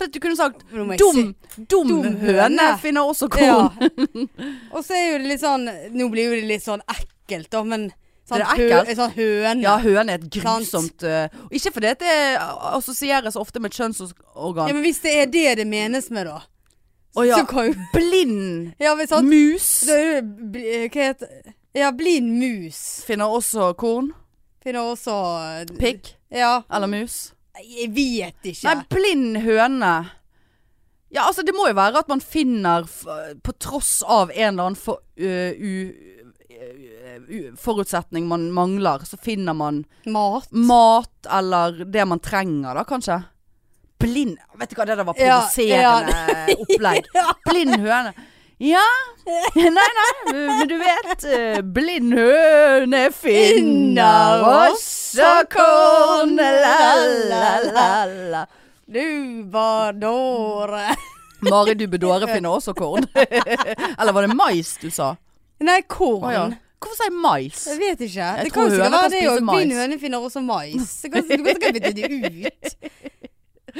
Speaker 1: For at du kunne sagt
Speaker 2: Nå må jeg
Speaker 1: dum, dum,
Speaker 2: Dum høne.
Speaker 1: høne finner også korn.
Speaker 2: Ja. Og så er jo det litt sånn Nå blir jo det litt sånn ekkelt, da, men sånn,
Speaker 1: Det er ekkelt.
Speaker 2: hø- sånn høne.
Speaker 1: Ja, høne er et
Speaker 2: Sant.
Speaker 1: grusomt øh, og Ikke fordi at det assosieres ofte med et
Speaker 2: Ja,
Speaker 1: kjønnsorgan.
Speaker 2: men hvis det er det det menes med, da.
Speaker 1: Å ja.
Speaker 2: Så kan jo
Speaker 1: Blind
Speaker 2: Ja, men sant?
Speaker 1: mus
Speaker 2: Da er det bl- Hva heter Ja, blind mus.
Speaker 1: finner også korn.
Speaker 2: Finner også
Speaker 1: Pikk
Speaker 2: Ja.
Speaker 1: eller mus.
Speaker 2: Jeg vet ikke.
Speaker 1: Nei, blind høne. Ja, altså det må jo være at man finner f på tross av en eller annen for, øh, u, u, forutsetning man mangler, så finner man
Speaker 2: Mat.
Speaker 1: mat eller det man trenger da, kanskje. blind Vet du hva, det der var
Speaker 2: Ja,
Speaker 1: provoserende opplegg. Blind høne. Ja. Nei, nei, men du vet. eh, Blind høne finner også korn. La, la, la, la.
Speaker 2: Du var dåre.
Speaker 1: Mari Dubedore finner også korn. Eller var det mais du sa?
Speaker 2: Nei, korn.
Speaker 1: Å ja. Hvorfor sier jeg mais?
Speaker 2: Jeg vet ikke. det
Speaker 1: tror
Speaker 2: kan jo sikkert
Speaker 1: høna kan
Speaker 2: være det
Speaker 1: spise
Speaker 2: òg.
Speaker 1: mais.
Speaker 2: Min høne finner også mais. Du kan du kan sikkert bytte det ut.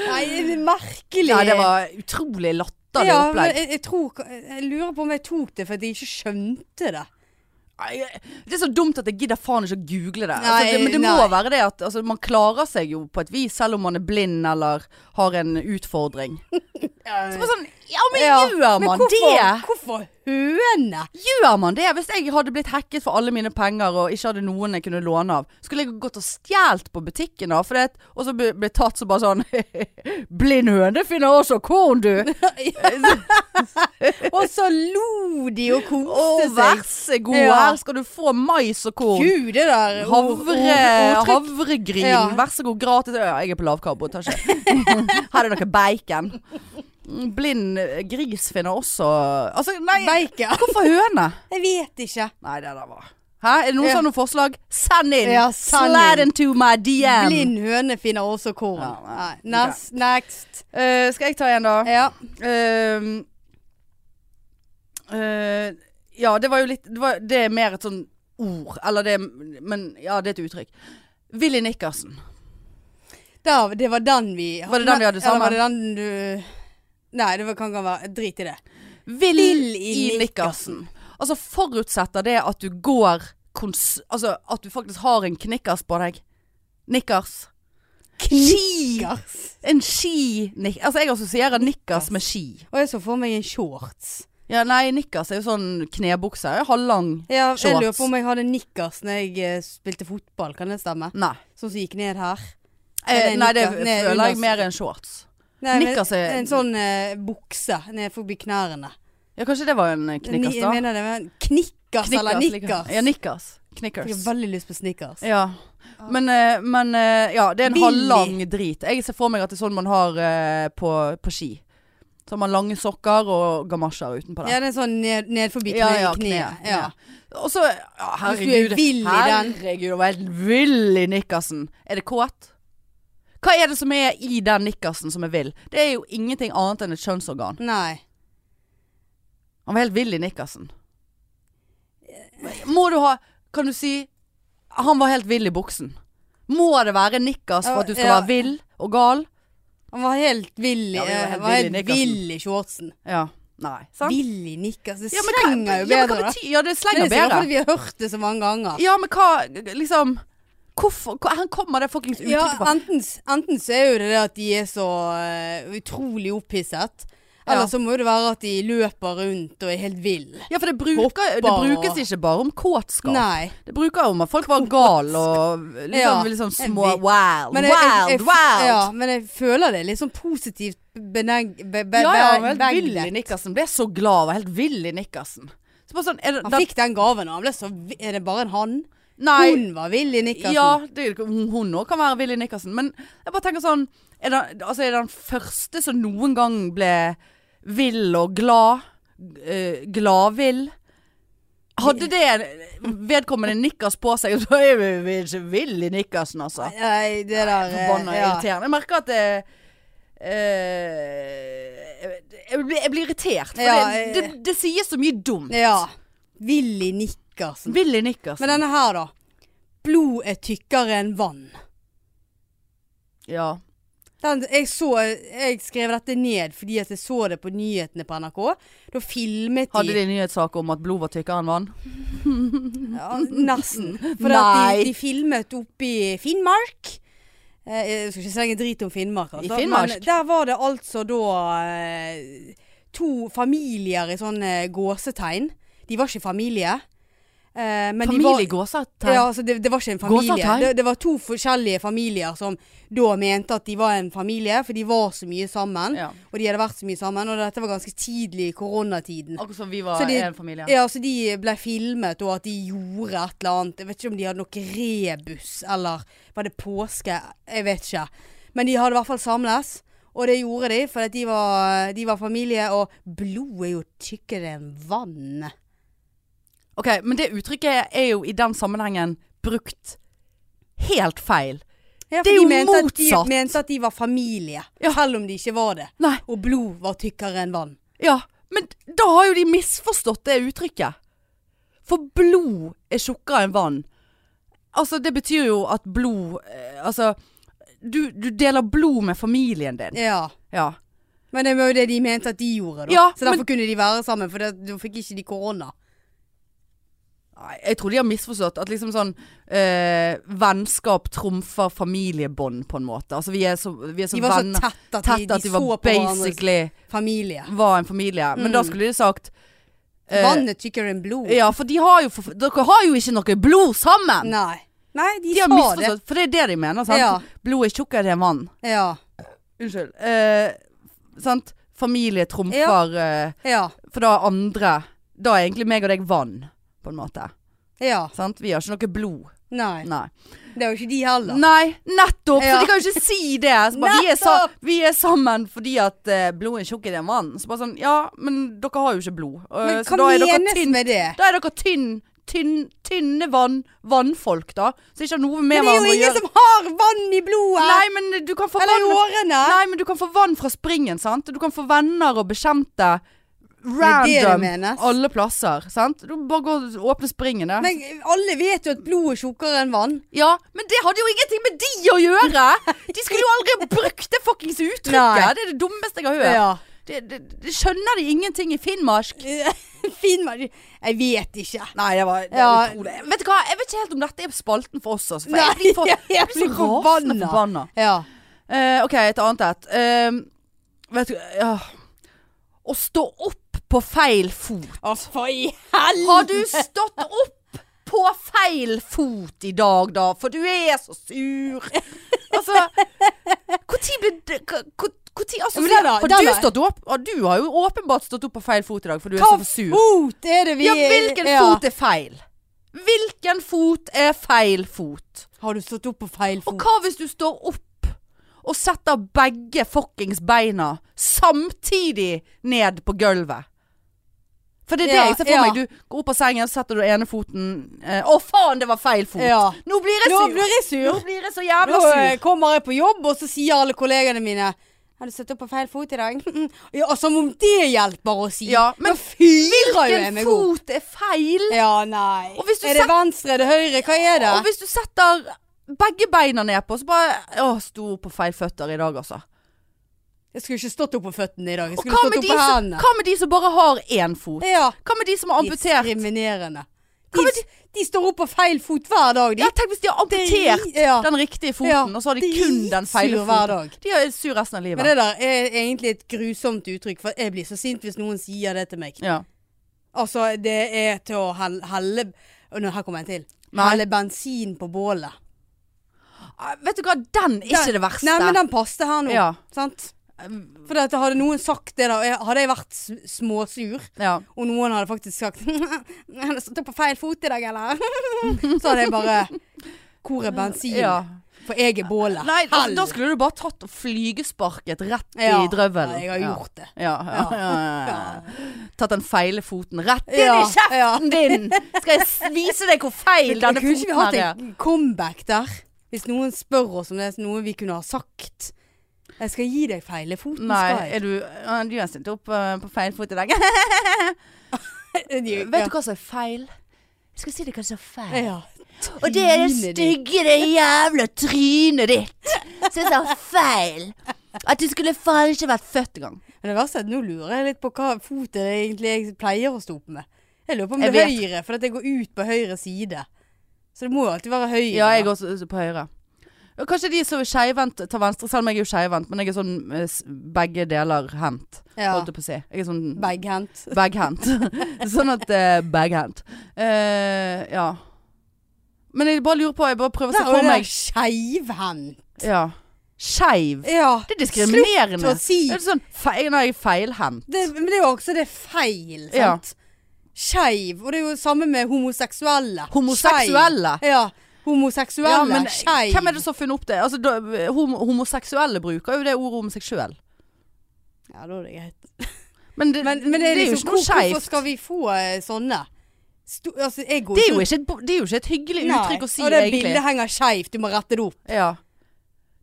Speaker 2: Nei, det er merkelig.
Speaker 1: Ja, det var utrolig latterlig
Speaker 2: Ja, men
Speaker 1: opplegg.
Speaker 2: jeg, jeg, tror, jeg lurer på om jeg tok det fordi jeg ikke skjønte det.
Speaker 1: Nei, jeg- Det er så dumt at jeg gidder faen ikke å google det. altså,
Speaker 2: Nei,
Speaker 1: det men det må
Speaker 2: nei.
Speaker 1: være det at altså, man klarer seg jo på et vis, selv om man er blind eller har en utfordring. Så bare sånn, ja, men
Speaker 2: Ja,
Speaker 1: gjør man
Speaker 2: hvorfor, hvorfor høne?
Speaker 1: det? Gjør man det? Hvis jeg hadde blitt hacket for alle mine penger og ikke hadde noen jeg kunne låne av, skulle jeg gått og stjålet på butikken da, for det, og så ble, ble tatt så bare sånn Blind høne finner også korn, du!
Speaker 2: Og så lo de
Speaker 1: Å,
Speaker 2: og koste
Speaker 1: vær
Speaker 2: seg.
Speaker 1: så god,
Speaker 2: Ja.
Speaker 1: her skal du få mais og korn.
Speaker 2: Gud, det der ord- ord-
Speaker 1: Havre,
Speaker 2: ordtrykk.
Speaker 1: havregryn,
Speaker 2: Ja.
Speaker 1: vær så god, gratis. Ja, jeg er på lavkarbo, tar ikke. Her er det noe bacon. Blind eh, gris finner også Altså, nei,
Speaker 2: Bacon.
Speaker 1: hvorfor høne?
Speaker 2: Jeg vet ikke.
Speaker 1: Nei, det der var Hæ, er det noen
Speaker 2: Ja.
Speaker 1: som har noen forslag? Send inn!
Speaker 2: Ja, send
Speaker 1: Slide
Speaker 2: inn.
Speaker 1: into my DM!
Speaker 2: Blind høne finner også korn.
Speaker 1: Ja,
Speaker 2: Nei,
Speaker 1: nei.
Speaker 2: next. next.
Speaker 1: Eh, skal jeg ta en, da?
Speaker 2: Ja.
Speaker 1: Ehm, eh, ja, det var jo litt det, var, det er mer et sånn ord. Eller det Men ja, det er et uttrykk. Willy Nikkersen.
Speaker 2: Da, det var den vi
Speaker 1: Var det den vi hadde
Speaker 2: Eller var
Speaker 1: sammen?
Speaker 2: det den du Nei, det var, kan ikke være Drit i det.
Speaker 1: Vill
Speaker 2: Vill
Speaker 1: i
Speaker 2: i
Speaker 1: Nikkersen. Altså forutsetter det at du går kons... Altså at du faktisk har en knikkers på deg. Nikkers.
Speaker 2: Knikkers.
Speaker 1: En ski nik Altså jeg assosierer nikkers
Speaker 2: Nikkers.
Speaker 1: med ski.
Speaker 2: Og jeg så for meg en shorts.
Speaker 1: Ja, nei, nikkers er jo sånn knebukse. Halvlang.
Speaker 2: Ja, jeg
Speaker 1: Shorts.
Speaker 2: lurer på om jeg hadde nikkers når jeg eh, spilte fotball, kan det stemme?
Speaker 1: Nei.
Speaker 2: Sånn som gikk ned her.
Speaker 1: Eh,
Speaker 2: Eller
Speaker 1: nei, det
Speaker 2: nikkers. Nei,
Speaker 1: føler jeg
Speaker 2: unders-
Speaker 1: mer enn shorts.
Speaker 2: Nei, men
Speaker 1: Nikkers er-
Speaker 2: En sånn eh, bukse ned forbi knærne.
Speaker 1: Ja, kanskje det var en eh,
Speaker 2: Ni-
Speaker 1: knikkers,
Speaker 2: jeg
Speaker 1: da?
Speaker 2: mener det var en knikkers, eller
Speaker 1: liker-
Speaker 2: nikkers.
Speaker 1: Ja, nikkers.
Speaker 2: Jeg har
Speaker 1: Knickers.
Speaker 2: veldig lyst på snickers.
Speaker 1: Ja. Men, eh, men eh, ja, det er en
Speaker 2: Ah. Billig.
Speaker 1: halvlang drit. Jeg ser for meg at det er sånn man har eh, på, på ski. Så har man lange sokker og gamasjer utenpå
Speaker 2: Ja,
Speaker 1: der.
Speaker 2: det er sånn ned, ned forbi
Speaker 1: Ja,
Speaker 2: kne-
Speaker 1: ja,
Speaker 2: kneet.
Speaker 1: kne,
Speaker 2: Ja.
Speaker 1: Og så ja,
Speaker 2: Hvis du
Speaker 1: Herregud.
Speaker 2: er vill i den.
Speaker 1: Herregud, jeg var helt vill i nikkersen. Er det kåt? Hva er det som er i den nikkersen som er vill? Det er jo ingenting annet enn et kjønnsorgan.
Speaker 2: Nei.
Speaker 1: Han var helt vill i nikkersen. Må du ha Kan du si Han var helt vill i buksen. Må det være nikkers for at du skal
Speaker 2: Ja.
Speaker 1: være vill og gal?
Speaker 2: Han var helt vill i
Speaker 1: Ja, vi var
Speaker 2: eh,
Speaker 1: helt
Speaker 2: var
Speaker 1: vill i
Speaker 2: helt
Speaker 1: Nickersen.
Speaker 2: vill i shortsen.
Speaker 1: Ja. Nei.
Speaker 2: Vill i nikkers. Det
Speaker 1: Ja, men hva-
Speaker 2: slenger
Speaker 1: ja,
Speaker 2: jo
Speaker 1: men hva
Speaker 2: bedre, da.
Speaker 1: betyr- Ja, det
Speaker 2: Det
Speaker 1: slenger
Speaker 2: er sikkert
Speaker 1: bedre.
Speaker 2: fordi vi har hørt det så mange ganger.
Speaker 1: Ja, men hva Liksom Hvorfor hva- Her kommer det fuckings
Speaker 2: Ja,
Speaker 1: uttrykket fra.
Speaker 2: enten, s- enten så er jo det det at de er så eh, utrolig opphisset. Eller
Speaker 1: Ja.
Speaker 2: så må det være at de løper rundt og er helt vill.
Speaker 1: Ja, for det, bruker, det
Speaker 2: Hopper
Speaker 1: brukes
Speaker 2: og-
Speaker 1: ikke bare om kåtskap.
Speaker 2: Nei.
Speaker 1: Det bruker jo om at folk var gale og liksom,
Speaker 2: Ja,
Speaker 1: liksom
Speaker 2: jeg
Speaker 1: små
Speaker 2: vet.
Speaker 1: Wild,
Speaker 2: Men
Speaker 1: wild,
Speaker 2: jeg, jeg, jeg,
Speaker 1: wild!
Speaker 2: Ja, men jeg føler det er litt sånn positivt beneg... Be, be,
Speaker 1: Ja, ja,
Speaker 2: be,
Speaker 1: helt vill i Nikkersen. Ble så glad, var helt vill i Nikkersen. Så bare sånn, er det,
Speaker 2: Han
Speaker 1: da-
Speaker 2: fikk den gaven, og han ble så vi- Er det bare en han?
Speaker 1: nei,
Speaker 2: Hun var vill i altså. Nikkersen.
Speaker 1: Ja, det, hun òg kan være Willy Nikkersen. Men jeg bare tenker sånn Er det, altså, er det den første som noen gang ble vill og glad? Uh, Gladvill? Hadde det vedkommende nikkers på seg, så er vi vi er ikke vill i nikkersen, altså.
Speaker 2: Nei, det der eh,
Speaker 1: Forbanna
Speaker 2: ja.
Speaker 1: irriterende. Jeg merker at det eh, jeg, blir, jeg blir irritert. For
Speaker 2: Ja,
Speaker 1: det,
Speaker 2: jeg-
Speaker 1: det, det sies så mye dumt.
Speaker 2: ja. Vill i altså. Nikkersen.
Speaker 1: Willy
Speaker 2: Men
Speaker 1: Nikkersen.
Speaker 2: denne her, da. Blod er tykkere enn vann.
Speaker 1: Ja.
Speaker 2: Den, jeg, så, jeg skrev dette ned fordi at jeg så det på nyhetene på NRK. Da filmet
Speaker 1: Hadde
Speaker 2: de
Speaker 1: de nyhetssak om at blod var tykkere enn vann?
Speaker 2: ja, Nesten. For at
Speaker 1: Nei.
Speaker 2: de, de filmet oppe i Finnmark. Eh, Jeg skal ikke slenge drit om Finnmark, altså.
Speaker 1: Finnmark?
Speaker 2: Men der var det altså da eh, to familier i sånn eh, gåsetegn. De var ikke familie. eh, Men de var,
Speaker 1: Familie gåsetegn?
Speaker 2: Ja, altså det, det var ikke en familie.
Speaker 1: Gåsetegn?
Speaker 2: Det, det var to forskjellige familier som da mente at de var en familie, for de var så mye sammen.
Speaker 1: Ja.
Speaker 2: Og de hadde vært så mye sammen, og dette var ganske tidlig i koronatiden.
Speaker 1: Akkurat som vi var
Speaker 2: Så de-
Speaker 1: en familie.
Speaker 2: Ja, så de ble filmet, og at de gjorde et eller annet. Jeg vet ikke om de hadde noe rebus, eller var det påske? Jeg vet ikke. Men de hadde i hvert fall samles, Og det gjorde de, for at de, var, de var familie, og blod er jo tykkere enn vann.
Speaker 1: Ok, men det uttrykket er jo i den sammenhengen brukt helt feil.
Speaker 2: Ja, for
Speaker 1: Det er jo
Speaker 2: de mente at
Speaker 1: motsatt.
Speaker 2: De mente at de var familie,
Speaker 1: Ja.
Speaker 2: selv om de ikke var det.
Speaker 1: Nei,
Speaker 2: Og blod var tykkere enn vann.
Speaker 1: ja, men da har jo de misforstått det uttrykket. For blod er tjukkere enn vann. Altså, det betyr jo at blod eh, Altså, du, du deler blod med familien din.
Speaker 2: Ja.
Speaker 1: Ja.
Speaker 2: Men det var jo det de mente at de gjorde, da.
Speaker 1: Ja,
Speaker 2: så derfor
Speaker 1: men-
Speaker 2: kunne de være sammen, for det, da fikk ikke de korona.
Speaker 1: Nei, Jeg tror de har misforstått at liksom sånn eh, Vennskap trumfer familiebånd, på en måte. Altså, vi er så, vi er så
Speaker 2: De var så
Speaker 1: venner.
Speaker 2: tett at de,
Speaker 1: tett
Speaker 2: de,
Speaker 1: at de
Speaker 2: så
Speaker 1: var
Speaker 2: på hverandres
Speaker 1: basically
Speaker 2: familie.
Speaker 1: var en familie. Men
Speaker 2: Mm.
Speaker 1: da skulle de sagt eh,
Speaker 2: Vannet tykkere enn blod.
Speaker 1: Ja, for de har jo for, Dere har jo ikke noe blod sammen!
Speaker 2: Nei. Nei, de,
Speaker 1: De har
Speaker 2: sa det.
Speaker 1: misforstått, for det er det de mener. Sant?
Speaker 2: Ja.
Speaker 1: Blod er tjukkere enn vann.
Speaker 2: Ja.
Speaker 1: Unnskyld. Eh, sant? Familie trumfer eh,
Speaker 2: Ja.
Speaker 1: For da er andre Da er egentlig meg og deg vann, på en måte.
Speaker 2: Ja.
Speaker 1: Sant? Vi har ikke noe blod.
Speaker 2: Nei.
Speaker 1: Nei.
Speaker 2: Det var jo ikke de heller.
Speaker 1: Nei, nettopp!
Speaker 2: Ja.
Speaker 1: Så de kan jo ikke si det. Så bare, vi, er sa
Speaker 2: Nettopp!
Speaker 1: vi er sammen fordi at eh, blod er tjukkere enn vann. Så bare sånn Ja, men dere har jo ikke blod. Eh,
Speaker 2: Men
Speaker 1: så
Speaker 2: hva
Speaker 1: da er dere
Speaker 2: menes
Speaker 1: tynt
Speaker 2: med det?
Speaker 1: Da er dere tynn, tynn, tynne vann, vannfolk, da. Så ikke har noe med
Speaker 2: Men det er
Speaker 1: hverandre
Speaker 2: jo
Speaker 1: å
Speaker 2: ingen
Speaker 1: gjøre.
Speaker 2: som har vann i blodet!
Speaker 1: Nei, men du kan få
Speaker 2: eller i
Speaker 1: vann
Speaker 2: årene!
Speaker 1: Nei, men du kan få vann fra springen, sant? Du kan få venner og bekjente
Speaker 2: er det det
Speaker 1: random
Speaker 2: menes.
Speaker 1: alle plasser, sant? Du bare går og åpner springene.
Speaker 2: Men alle vet jo at blod er tjukkere enn vann.
Speaker 1: ja, men det hadde jo ingenting med de å gjøre! De skulle jo aldri ha brukt det fuckings uttrykket!
Speaker 2: Nei.
Speaker 1: Det er det dummeste jeg har hørt. Det, det, det skjønner de ingenting i Finnmark.
Speaker 2: Finn meg Jeg vet ikke.
Speaker 1: Nei, det var, det var
Speaker 2: Ja.
Speaker 1: utrolig. Vet du hva, jeg vet ikke helt om dette er spalten for oss, altså. For
Speaker 2: Nei,
Speaker 1: jeg blir, for,
Speaker 2: jeg
Speaker 1: jeg blir
Speaker 2: blir
Speaker 1: så rasende
Speaker 2: forbanna.
Speaker 1: forbanna.
Speaker 2: Ja.
Speaker 1: Eh, ok, et annet et. Eh, vet du ja. Å stå opp på feil fot.
Speaker 2: for i
Speaker 1: Har
Speaker 2: helvete!
Speaker 1: du stått opp på feil fot i dag, da? For du er så sur. Altså Når ble det hva- hva- hvor tid- altså,
Speaker 2: Ja, men den da-
Speaker 1: Har
Speaker 2: den
Speaker 1: du
Speaker 2: da-
Speaker 1: stått opp? Ja, du har jo åpenbart stått opp på feil fot i dag, for du er
Speaker 2: Hva
Speaker 1: så sur.
Speaker 2: fot er det vi
Speaker 1: Ja, hvilken
Speaker 2: Ja.
Speaker 1: fot er feil? Hvilken fot er feil fot?
Speaker 2: Har du stått opp på feil
Speaker 1: Og
Speaker 2: fot?
Speaker 1: hva hvis du står opp og setter begge fuckings beina samtidig ned på gulvet? For det er det
Speaker 2: Ja,
Speaker 1: jeg ser for
Speaker 2: ja.
Speaker 1: meg. Du går opp av sengen, setter du ene foten eh, Å faen, det var feil fot!
Speaker 2: Ja.
Speaker 1: Nå blir jeg
Speaker 2: Nå
Speaker 1: sur!
Speaker 2: blir jeg
Speaker 1: Nå
Speaker 2: sur.
Speaker 1: blir jeg så
Speaker 2: Nå
Speaker 1: jævla
Speaker 2: eh,
Speaker 1: sur!
Speaker 2: kommer jeg på jobb, og så sier alle kollegene mine har du stått opp på feil fot i dag? Ja, og som om det hjelper å si.
Speaker 1: Ja, men
Speaker 2: Nå fyrer jo jeg
Speaker 1: Hvilken
Speaker 2: meg opp.
Speaker 1: fot er feil?
Speaker 2: Ja, nei.
Speaker 1: Og hvis du
Speaker 2: er det
Speaker 1: set-
Speaker 2: venstre, er det høyre? Hva er det?
Speaker 1: Og hvis du setter begge beina nedpå, så bare Å, sto på feil føtter i dag, altså.
Speaker 2: Jeg skulle ikke stått opp på føttene i dag. Jeg
Speaker 1: Og
Speaker 2: skulle
Speaker 1: hva
Speaker 2: stått
Speaker 1: med,
Speaker 2: opp
Speaker 1: de
Speaker 2: på
Speaker 1: som,
Speaker 2: hendene.
Speaker 1: hva med de som bare har én fot?
Speaker 2: Ja.
Speaker 1: Hva med de som har amputert?
Speaker 2: Diskriminerende.
Speaker 1: Hva
Speaker 2: De,
Speaker 1: med
Speaker 2: de står opp på feil fot hver dag, de.
Speaker 1: Ja, tenk hvis de har amputert
Speaker 2: Drit- ja.
Speaker 1: den riktige foten,
Speaker 2: Ah. Ja,
Speaker 1: og så har de kun den feile
Speaker 2: dritsur hver
Speaker 1: foten.
Speaker 2: dag.
Speaker 1: De er sur resten av livet.
Speaker 2: Men det der er egentlig et grusomt uttrykk, for jeg blir så sint hvis noen sier det til meg.
Speaker 1: ja.
Speaker 2: Altså, det er til å helle, helle Å, nå, Her kommer en til.
Speaker 1: Nei.
Speaker 2: Helle bensin på bålet.
Speaker 1: Ah, Vet du hva, den er ikke det verste.
Speaker 2: Nei, men den passet her nå.
Speaker 1: Ja. Um,
Speaker 2: Sant? For at hadde noen sagt det, da jeg- Hadde jeg vært s- småsur,
Speaker 1: ja.
Speaker 2: og noen hadde faktisk sagt Jeg hadde stått på feil fot i dag, eller? Så hadde jeg bare Hvor er bensin?
Speaker 1: ja.
Speaker 2: For jeg er bålet.
Speaker 1: Nei, altså, da
Speaker 2: Helvete.
Speaker 1: skulle du bare tatt og flygesparket rett
Speaker 2: Ja.
Speaker 1: i drøvelen.
Speaker 2: Ja, jeg har gjort det.
Speaker 1: Ja. Ja. Ja. Ja. Tatt den feile foten rett inn
Speaker 2: Ja,
Speaker 1: i kjeften din! Skal jeg s- vise deg hvor feil
Speaker 2: Men
Speaker 1: denne
Speaker 2: kunne ikke vi
Speaker 1: foten
Speaker 2: hatt
Speaker 1: her er?
Speaker 2: en comeback der? Hvis noen spør oss om det er noe vi kunne ha sagt. Jeg skal gi deg feile foten,
Speaker 1: Nei,
Speaker 2: skal jeg.
Speaker 1: er du ja, Du har stilt opp eh, på feil fot i dag.
Speaker 2: Ja.
Speaker 1: Vet du hva som er feil? Jeg skal si deg hva som er feil.
Speaker 2: Ja.
Speaker 1: Og det er det
Speaker 2: Trynet ditt.
Speaker 1: stygge, det jævla trynet ditt. Som sa feil. At du skulle faen ikke vært født engang.
Speaker 2: Men det verste er at nå lurer jeg litt på hva fot er det egentlig jeg pleier å stå opp med. Jeg lurer på om
Speaker 1: Jeg
Speaker 2: det er
Speaker 1: vet.
Speaker 2: høyre, for at jeg går ut på høyre side. Så det må jo alltid være høyre.
Speaker 1: Ja, jeg også også på høyre. Og Kanskje de som er skeivhendt, tar venstre, selv om jeg er jo skeivhendt. Men jeg er sånn eh, s- begge deler hendt,
Speaker 2: Ja.
Speaker 1: holdt jeg på å si. Jeg er sånn
Speaker 2: Baghendt.
Speaker 1: baghendt. sånn at eh, Baghendt. Eh, ja. Men jeg bare lurer på, jeg bare prøver å se
Speaker 2: Der er
Speaker 1: for
Speaker 2: det
Speaker 1: meg
Speaker 2: skeivhendt.
Speaker 1: ja. Skeiv.
Speaker 2: Ja.
Speaker 1: Det er diskriminerende.
Speaker 2: Slutt å si.
Speaker 1: Er det sånn feil, nei, feilhendt?
Speaker 2: Det, men det er jo også det feil,
Speaker 1: Ja.
Speaker 2: sant? Skeiv. Og det er jo samme med homoseksuelle.
Speaker 1: Homoseksuelle?
Speaker 2: Skeiv. Ja.
Speaker 1: Ja,
Speaker 2: Homoseksuelle,
Speaker 1: men
Speaker 2: skeiv
Speaker 1: hvem er det som har funnet opp det? Altså, da, hom homoseksuelle bruker jo det ordet om seg sjøl.
Speaker 2: Ja, da er det greit.
Speaker 1: Men det,
Speaker 2: Men, men det er,
Speaker 1: jo
Speaker 2: liksom,
Speaker 1: ikke noe
Speaker 2: hvor- Hvorfor
Speaker 1: skeivt.
Speaker 2: skal vi få eh, sånne? Sto, altså, jeg går
Speaker 1: Det er jo ikke et, bo- det er jo ikke et hyggelig
Speaker 2: Nei,
Speaker 1: uttrykk å si,
Speaker 2: Og det bildet
Speaker 1: egentlig.
Speaker 2: henger skeivt, du må rette det opp.
Speaker 1: Ja.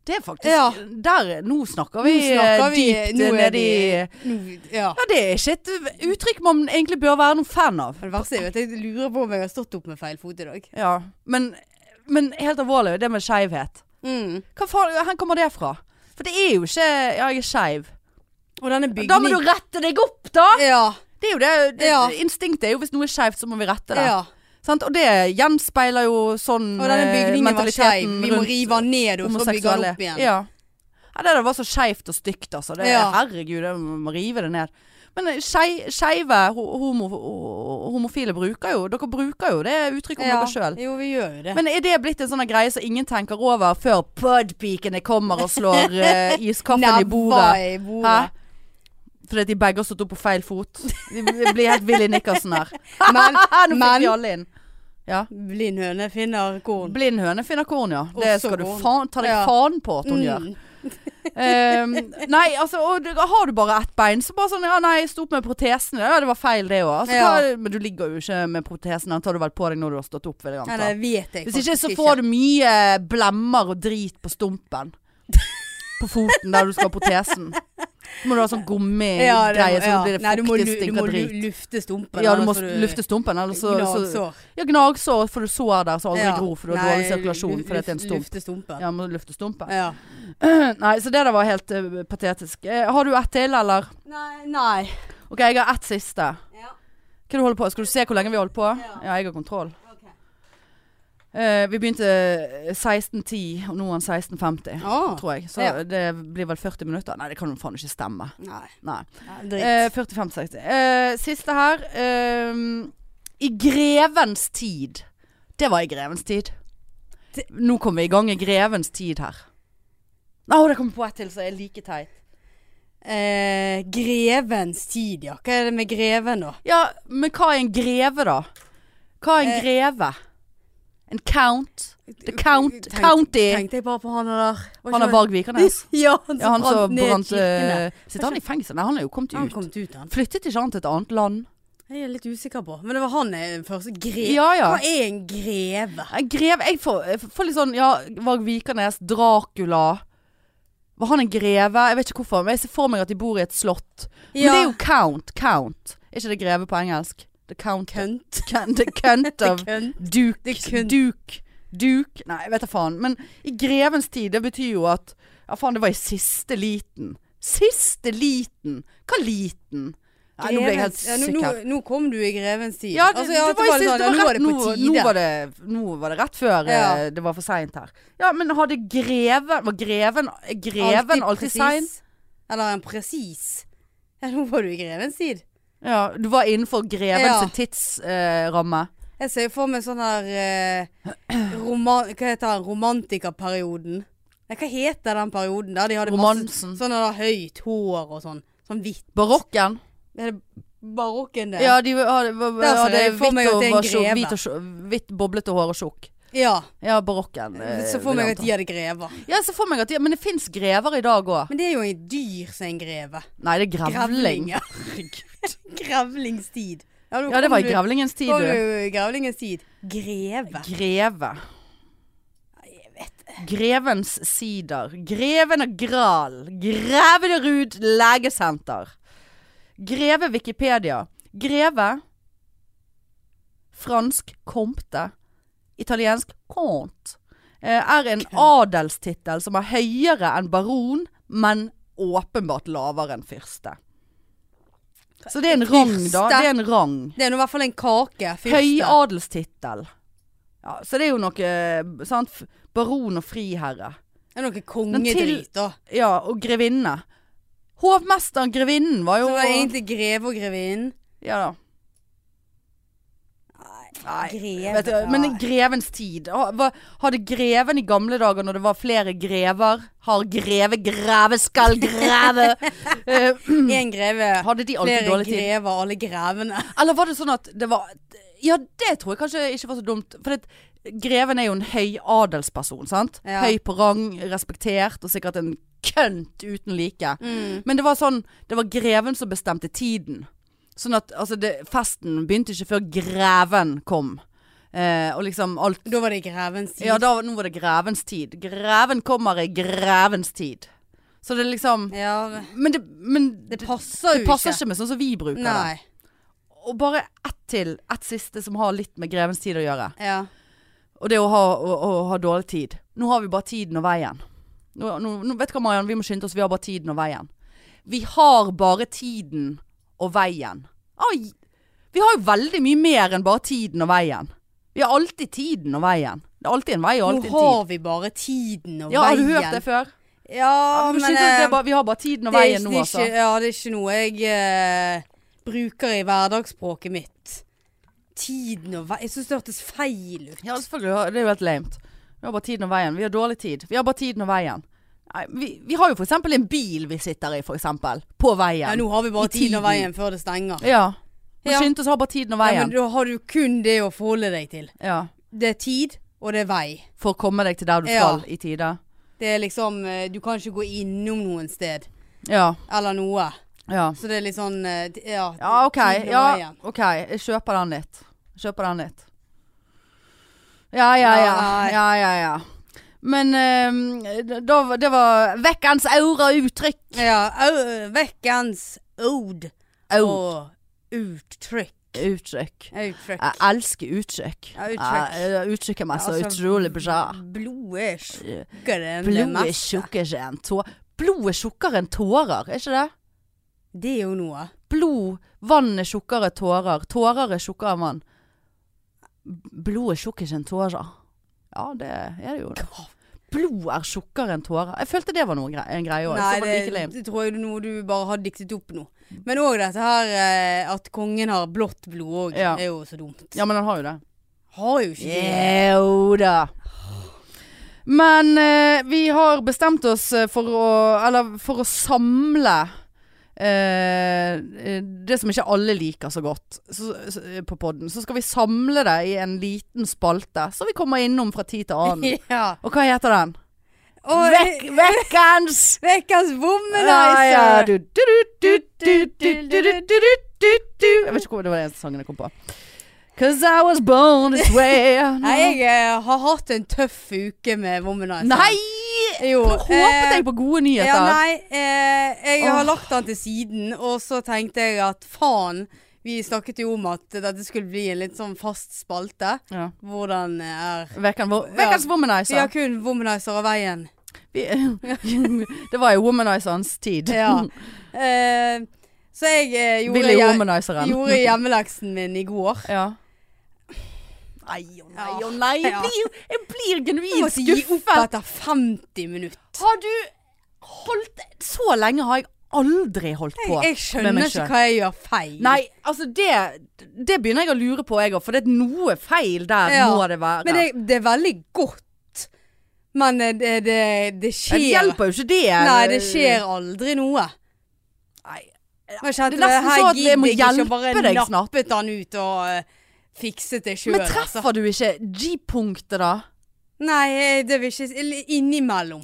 Speaker 1: Det er faktisk
Speaker 2: Ja.
Speaker 1: Der, nå snakker vi,
Speaker 2: Nå snakker
Speaker 1: eh,
Speaker 2: vi-
Speaker 1: dypt
Speaker 2: nå er
Speaker 1: nedi
Speaker 2: Nå- Ja.
Speaker 1: Ja, det er ikke et uttrykk man egentlig bør være noen fan av.
Speaker 2: Det verste er jo at jeg lurer på om jeg har stått opp med feil fot i dag.
Speaker 1: Ja, men, men helt alvorlig, det med skeivhet.
Speaker 2: Mm.
Speaker 1: Hva faen, hvor kommer det fra? For det er jo ikke Ja, jeg er skeiv.
Speaker 2: Og denne
Speaker 1: Da må du
Speaker 2: bygningen
Speaker 1: rette deg opp, da!
Speaker 2: Ja.
Speaker 1: Det er jo det, det
Speaker 2: Ja.
Speaker 1: Instinktet er jo hvis noe er skeivt, så må vi rette det.
Speaker 2: ja.
Speaker 1: Sant? Og det gjenspeiler jo sånn
Speaker 2: Og denne
Speaker 1: eh,
Speaker 2: bygningen var skeiv.
Speaker 1: mentaliteten
Speaker 2: Vi må
Speaker 1: rundt
Speaker 2: rive den ned og så bygge den
Speaker 1: homoseksuelle.
Speaker 2: opp igjen.
Speaker 1: Ja. ja, det der var så skeivt og stygt, altså. Det,
Speaker 2: Ja.
Speaker 1: Herregud, jeg må rive det ned. Men eh, skei- skeive ho- homo, ho- homofile bruker jo Dere bruker jo det uttrykket om
Speaker 2: Ja.
Speaker 1: dere sjøl.
Speaker 2: Jo, vi gjør jo det.
Speaker 1: Men er det blitt en sånn greie som ingen tenker over før podpikene kommer og slår eh, iskaffen i bordet?
Speaker 2: Nebba i bordet.
Speaker 1: Hæ? Fordi at de begge har stått opp på feil fot. De blir helt Willy Nickerson her.
Speaker 2: Men-
Speaker 1: Nå fikk
Speaker 2: men-
Speaker 1: vi alle inn. Ja.
Speaker 2: Blind høne finner korn.
Speaker 1: Blind høne finner korn, ja.
Speaker 2: Og
Speaker 1: Det
Speaker 2: så
Speaker 1: skal du
Speaker 2: korn.
Speaker 1: faen ta deg
Speaker 2: Ja.
Speaker 1: faen på at hun gjør.
Speaker 2: Mm.
Speaker 1: Ehm, nei, altså, og du- har du bare ett bein, så bare sånn Ja, nei, jeg sto opp med protesen. Ja, det var feil, det òg. Altså,
Speaker 2: Ja.
Speaker 1: hva- Men du ligger jo ikke med protesen. Den tar du vel på deg når du har stått opp, vil jeg
Speaker 2: Nei,
Speaker 1: anta.
Speaker 2: det vet jeg
Speaker 1: Hvis ikke så får du mye blemmer og drit på stumpen. På foten der du skal ha protesen. Så må du ha sånn gummigreie,
Speaker 2: ja, det, ja.
Speaker 1: så blir det
Speaker 2: Nei, du må, lu-
Speaker 1: fuktig,
Speaker 2: du
Speaker 1: stinker
Speaker 2: må lu-
Speaker 1: drit.
Speaker 2: lufte stumpen.
Speaker 1: Ja, du
Speaker 2: ellers
Speaker 1: må
Speaker 2: får
Speaker 1: lufte stumpen, eller så, så
Speaker 2: gnagsår.
Speaker 1: Ja, gnagsår, for du sår der, så aldri
Speaker 2: Ja.
Speaker 1: gror, for du har
Speaker 2: Nei,
Speaker 1: dårlig sirkulasjon
Speaker 2: lu-
Speaker 1: fordi at det er en
Speaker 2: luft-
Speaker 1: stump.
Speaker 2: Lufte stumpen.
Speaker 1: Ja, må lufte stumpen.
Speaker 2: Ja.
Speaker 1: Nei, så det der var helt eh, patetisk. Eh, har du ett til, eller?
Speaker 2: Nei, nei.
Speaker 1: Ok, jeg har ett siste.
Speaker 2: Ja.
Speaker 1: Hva du holder på? Skal du se hvor lenge vi holder på?
Speaker 2: Ja.
Speaker 1: Ja, jeg har kontroll.
Speaker 2: ok.
Speaker 1: Eh, vi begynte eh, 16.10, og nå er han 16.50,
Speaker 2: Ah.
Speaker 1: tror jeg. Så
Speaker 2: Ja.
Speaker 1: det blir vel 40 minutter. Nei, det kan jo faen ikke stemme.
Speaker 2: Nei.
Speaker 1: Nei.
Speaker 2: Nei, Dritt.
Speaker 1: Eh, 45-60. Eh, siste her. Eh, I grevens tid. Det var i grevens tid.
Speaker 2: Det-
Speaker 1: Nå kommer vi i gang i grevens tid her. Å, det kommer på ett til, så er like teit.
Speaker 2: Eh, grevens tid, ja. Hva er det med greven, da?
Speaker 1: Ja, men hva er en greve da? Hva er en
Speaker 2: Eh.
Speaker 1: greve? En count? The count,
Speaker 2: Tenk-
Speaker 1: county!
Speaker 2: Tenkte jeg bare på han der. Var
Speaker 1: Han er
Speaker 2: ikke
Speaker 1: Varg Vikernes.
Speaker 2: Ja, han som
Speaker 1: Ja, han som
Speaker 2: brant ned
Speaker 1: brant
Speaker 2: kirkene.
Speaker 1: eh, Sitter han i fengsel? Nei, han er jo kommet
Speaker 2: Han
Speaker 1: ut.
Speaker 2: kom ut, han.
Speaker 1: Flyttet ikke han til et annet land?
Speaker 2: Jeg er litt usikker på. Men det var han eh, den første greve.
Speaker 1: Ja, ja.
Speaker 2: Hva er en greve?
Speaker 1: En greve Jeg får, jeg får litt sånn Ja, Varg Vikernes, Dracula Var han en greve? Jeg vet ikke hvorfor, men jeg ser for meg at de bor i et slott. Men
Speaker 2: Ja.
Speaker 1: det er jo count. Count. Er ikke det greve på engelsk? The count.
Speaker 2: kønt.
Speaker 1: The count of
Speaker 2: kønt.
Speaker 1: Duke,
Speaker 2: Det kun-
Speaker 1: Duke, Duke Nei, jeg vet da faen. Men i grevens tid, det betyr jo at Ja, faen, det var i siste liten. Siste liten? Hva liten? Nei, nå ble jeg helt
Speaker 2: Grevens- ja, nå,
Speaker 1: sikker.
Speaker 2: nå, nå kom du i grevens tid.
Speaker 1: Ja, det,
Speaker 2: Altså,
Speaker 1: det
Speaker 2: at
Speaker 1: var, i
Speaker 2: litt
Speaker 1: siste-
Speaker 2: sånn,
Speaker 1: det
Speaker 2: ja,
Speaker 1: var rett, nå, nå,
Speaker 2: Nå
Speaker 1: var det, nå var det rett før
Speaker 2: Ja.
Speaker 1: eh, det var for seint her. Ja, men hadde greven Var greven, er greven alltid
Speaker 2: presis.
Speaker 1: sein?
Speaker 2: Eller en presis. Ja, nå var du i grevens tid.
Speaker 1: Ja, du var innenfor grevens
Speaker 2: Ja.
Speaker 1: tidsramme.
Speaker 2: Jeg ser jo for meg sånn her eh, roman, Hva heter den? Romantikerperioden. Nei, hva heter den perioden der? De hadde
Speaker 1: Romansen.
Speaker 2: masse sånn der høyt hår og sånn. Sånn hvitt.
Speaker 1: Barokken.
Speaker 2: Er det barokken det?
Speaker 1: Ja, de hadde, var-
Speaker 2: Der ser
Speaker 1: hadde
Speaker 2: jeg for meg
Speaker 1: hvitt
Speaker 2: at
Speaker 1: og
Speaker 2: det er en
Speaker 1: var tjukk.
Speaker 2: greve.
Speaker 1: Hvit og tjukk- hvitt boblete hår og tjukk.
Speaker 2: ja.
Speaker 1: Ja, barokken. eh,
Speaker 2: Så
Speaker 1: vil
Speaker 2: får meg
Speaker 1: jeg
Speaker 2: at
Speaker 1: anta.
Speaker 2: de hadde grever.
Speaker 1: Ja, så får meg at de Men det fins grever i dag òg.
Speaker 2: Men det er jo en dyr som er en greve.
Speaker 1: Nei, det er grevling.
Speaker 2: ja. Grevlingstid. nå
Speaker 1: Ja, det var i
Speaker 2: kom du-
Speaker 1: grevlingens tid,
Speaker 2: kom
Speaker 1: du.
Speaker 2: du i grevlingens tid. Greve.
Speaker 1: Greve. Grevens sider. Greven og Gral. Grevenerud legesenter. Greve Wikipedia. Greve. Fransk compte. Italiensk cont. Eh, Er en adelstittel som er høyere enn baron, men åpenbart lavere enn fyrste. Så det er en rang, da.
Speaker 2: Fyrste.
Speaker 1: Det er en rang.
Speaker 2: Det er nå i hvert fall en kake. Fyrste.
Speaker 1: Høyadelstittel. Ja, så det er jo noe eh, sant? F- Baron og friherre.
Speaker 2: Det er noe kongedrit, da.
Speaker 1: Ja, og grevinne. Hovmesteren, grevinnen, var
Speaker 2: Så
Speaker 1: jo
Speaker 2: det var egentlig greve og grevinnen.
Speaker 1: Ja da. Nei,
Speaker 2: Greve.
Speaker 1: Vet du, men i grevens tid. ha- hva- Hadde greven i gamle dager, når det var flere grever Har greve, greve, skal greve eh,
Speaker 2: En greve,
Speaker 1: Hadde de alltid
Speaker 2: flere
Speaker 1: dårlig tid?
Speaker 2: grever, alle grevene.
Speaker 1: Eller var det sånn at det var Ja, det tror jeg kanskje ikke var så dumt. For det, Greven er jo en høy adelsperson, sant?
Speaker 2: Ja.
Speaker 1: Høy på rang, respektert og sikkert en kønt uten like.
Speaker 2: Mm.
Speaker 1: Men det var sånn Det var greven som bestemte tiden. Sånn at altså det, festen begynte ikke før greven kom. Eh, og liksom alt
Speaker 2: Da var det grevens tid.
Speaker 1: Ja, da, nå var det grevens tid. Greven kommer i grevens tid. Så det er liksom
Speaker 2: Ja,
Speaker 1: Men det, men
Speaker 2: det
Speaker 1: det-
Speaker 2: passer jo
Speaker 1: det passer ikke med sånn som vi bruker det.
Speaker 2: Nei.
Speaker 1: Og bare ett til. Ett siste som har litt med grevens tid å gjøre.
Speaker 2: Ja.
Speaker 1: Og det å ha, å, å ha dårlig tid. Nå har vi bare tiden og veien. Nå, nå, nå vet du hva, Mariann, vi må skynde oss. Vi har bare tiden og veien. Vi har bare tiden og veien. Ai, vi har jo veldig mye mer enn bare tiden og veien. Vi har alltid tiden og veien. Det er alltid en vei og
Speaker 2: Nå
Speaker 1: alltid en tid.
Speaker 2: har vi bare tiden og
Speaker 1: Ja, har
Speaker 2: veien.
Speaker 1: du hørt det før?
Speaker 2: Ja,
Speaker 1: Ja, men
Speaker 2: men
Speaker 1: skynde oss, det
Speaker 2: eh,
Speaker 1: er bare, vi har bare tiden og
Speaker 2: det er
Speaker 1: veien
Speaker 2: ikke-
Speaker 1: nå,
Speaker 2: det er
Speaker 1: altså.
Speaker 2: ikke- Ja, det er ikke noe jeg eh, bruker i hverdagsspråket mitt. Tiden og veien Jeg syns det hørtes feil ut.
Speaker 1: Ja, selvfølgelig. Det er jo helt lamet. Vi har bare tiden og veien. Vi har dårlig tid. Vi har bare tiden og veien. Nei, vi, vi har jo for eksempel en bil vi sitter i, for eksempel. På veien.
Speaker 2: Ja, nå har vi
Speaker 1: I
Speaker 2: bare tiden og
Speaker 1: tiden.
Speaker 2: veien før det stenger.
Speaker 1: Ja. Vi
Speaker 2: Ja.
Speaker 1: skyndte oss å ha bare tiden og
Speaker 2: Ja,
Speaker 1: veien.
Speaker 2: men da har du kun det å forholde deg til.
Speaker 1: Ja.
Speaker 2: Det er tid, og det er vei.
Speaker 1: For å komme deg til der du
Speaker 2: Ja.
Speaker 1: skal i tide.
Speaker 2: Det er liksom eh, Du kan ikke gå innom noen sted.
Speaker 1: Ja.
Speaker 2: Eller noe.
Speaker 1: Ja.
Speaker 2: Så det er litt sånn eh, t- Ja,
Speaker 1: ja OK.
Speaker 2: tiden og
Speaker 1: Ja,
Speaker 2: veien.
Speaker 1: ok. Jeg kjøper den litt. Jeg Kjøper den litt. Ja, ja, ja.
Speaker 2: Nei.
Speaker 1: Ja, ja, ja. Men eh, da, det var vekkens aura uttrykk.
Speaker 2: Ja, au- vekkens ord
Speaker 1: Au.
Speaker 2: og uttrykk.
Speaker 1: Uttrykk.
Speaker 2: Uttrykk.
Speaker 1: Jeg elsker uttrykk.
Speaker 2: Ja, uttrykk.
Speaker 1: Jeg, jeg uttrykker meg så
Speaker 2: Altså,
Speaker 1: utrolig bra.
Speaker 2: Blodet er tjukkere enn det
Speaker 1: Blod er
Speaker 2: meste.
Speaker 1: tjukkere enn tårer. Blod er tjukkere enn tårer, er ikke det?
Speaker 2: Det er jo noe.
Speaker 1: Blod, vann er tjukkere enn tårer. Tårer er tjukkere enn vann. B- Blod er tjukkere enn tårer. Ja, det er det jo. da. Blod er tjukkere enn tårer. Jeg følte det var noe grei, en greie òg.
Speaker 2: Nei,
Speaker 1: Det,
Speaker 2: det,
Speaker 1: like lame.
Speaker 2: det tror jeg er noe du bare har diktet opp nå. Men òg dette her eh, at kongen har blått blod òg,
Speaker 1: Ja.
Speaker 2: er jo så dumt.
Speaker 1: ja, men han har jo det.
Speaker 2: Har jo ikke det.
Speaker 1: Jo da. Men eh, vi har bestemt oss eh, for å Eller for å samle eh, eh, det som ikke alle liker så godt så, så, eh, på podden. Så skal vi samle det i en liten spalte, så vi kommer innom fra tid til annen.
Speaker 2: Ja.
Speaker 1: Og hva heter den?
Speaker 2: Og
Speaker 1: Vekk, vekkens! Ah,
Speaker 2: vekkens
Speaker 1: Ja,
Speaker 2: womanizer!
Speaker 1: ja, du, du, du, du, du, du, du, du, du, du. Jeg vet ikke hvor det var den eneste sangen jeg kom på. Cause I was born this way.
Speaker 2: Nei, jeg eh, har hatt en tøff uke med womanizer.
Speaker 1: Nei!
Speaker 2: Jo, Eh,
Speaker 1: Nå håpet jeg på gode nyheter.
Speaker 2: Ja, nei, eh, jeg har
Speaker 1: Åh.
Speaker 2: lagt den til siden, og så tenkte jeg at faen, vi snakket jo om at dette skulle bli en litt sånn fast spalte.
Speaker 1: ja.
Speaker 2: Hvordan er
Speaker 1: Vekken, wo- Vekkens
Speaker 2: Vi har
Speaker 1: womanizer.
Speaker 2: kun womanizer av veien.
Speaker 1: Vi, det var jo womanizerens tid.
Speaker 2: Ja. Eh, så jeg eh, gjorde,
Speaker 1: Billy
Speaker 2: jeg-
Speaker 1: womanizeren.
Speaker 2: gjorde hjemmeleksen min i går.
Speaker 1: Ja. Nei og nei og nei.
Speaker 2: Ja.
Speaker 1: Jeg blir, jeg blir
Speaker 2: Jeg
Speaker 1: genuint
Speaker 2: måtte gi opp
Speaker 1: skuffet.
Speaker 2: etter 50 minutter.
Speaker 1: Har du holdt Så lenge har jeg aldri holdt på.
Speaker 2: Jeg, jeg skjønner
Speaker 1: meg
Speaker 2: ikke
Speaker 1: selv.
Speaker 2: hva jeg gjør feil.
Speaker 1: Nei, altså det Det begynner jeg å lure på, jeg òg. For det er noe feil der
Speaker 2: Ja.
Speaker 1: må det være.
Speaker 2: Men det, det er veldig godt. Men eh, det, det, det
Speaker 1: Men
Speaker 2: skjer
Speaker 1: det hjelper jo ikke det.
Speaker 2: Nei, det skjer aldri noe.
Speaker 1: Nei.
Speaker 2: Men jeg kjente
Speaker 1: Det er nesten
Speaker 2: her
Speaker 1: sånn at jeg må
Speaker 2: gidder ikke, og
Speaker 1: hjelpe deg
Speaker 2: Bare
Speaker 1: snart.
Speaker 2: nappet han ut og eh, fikset det altså." sjøl.
Speaker 1: Men treffer du ikke G-punktet, da?
Speaker 2: Nei, eh, det vil ikke eller Innimellom.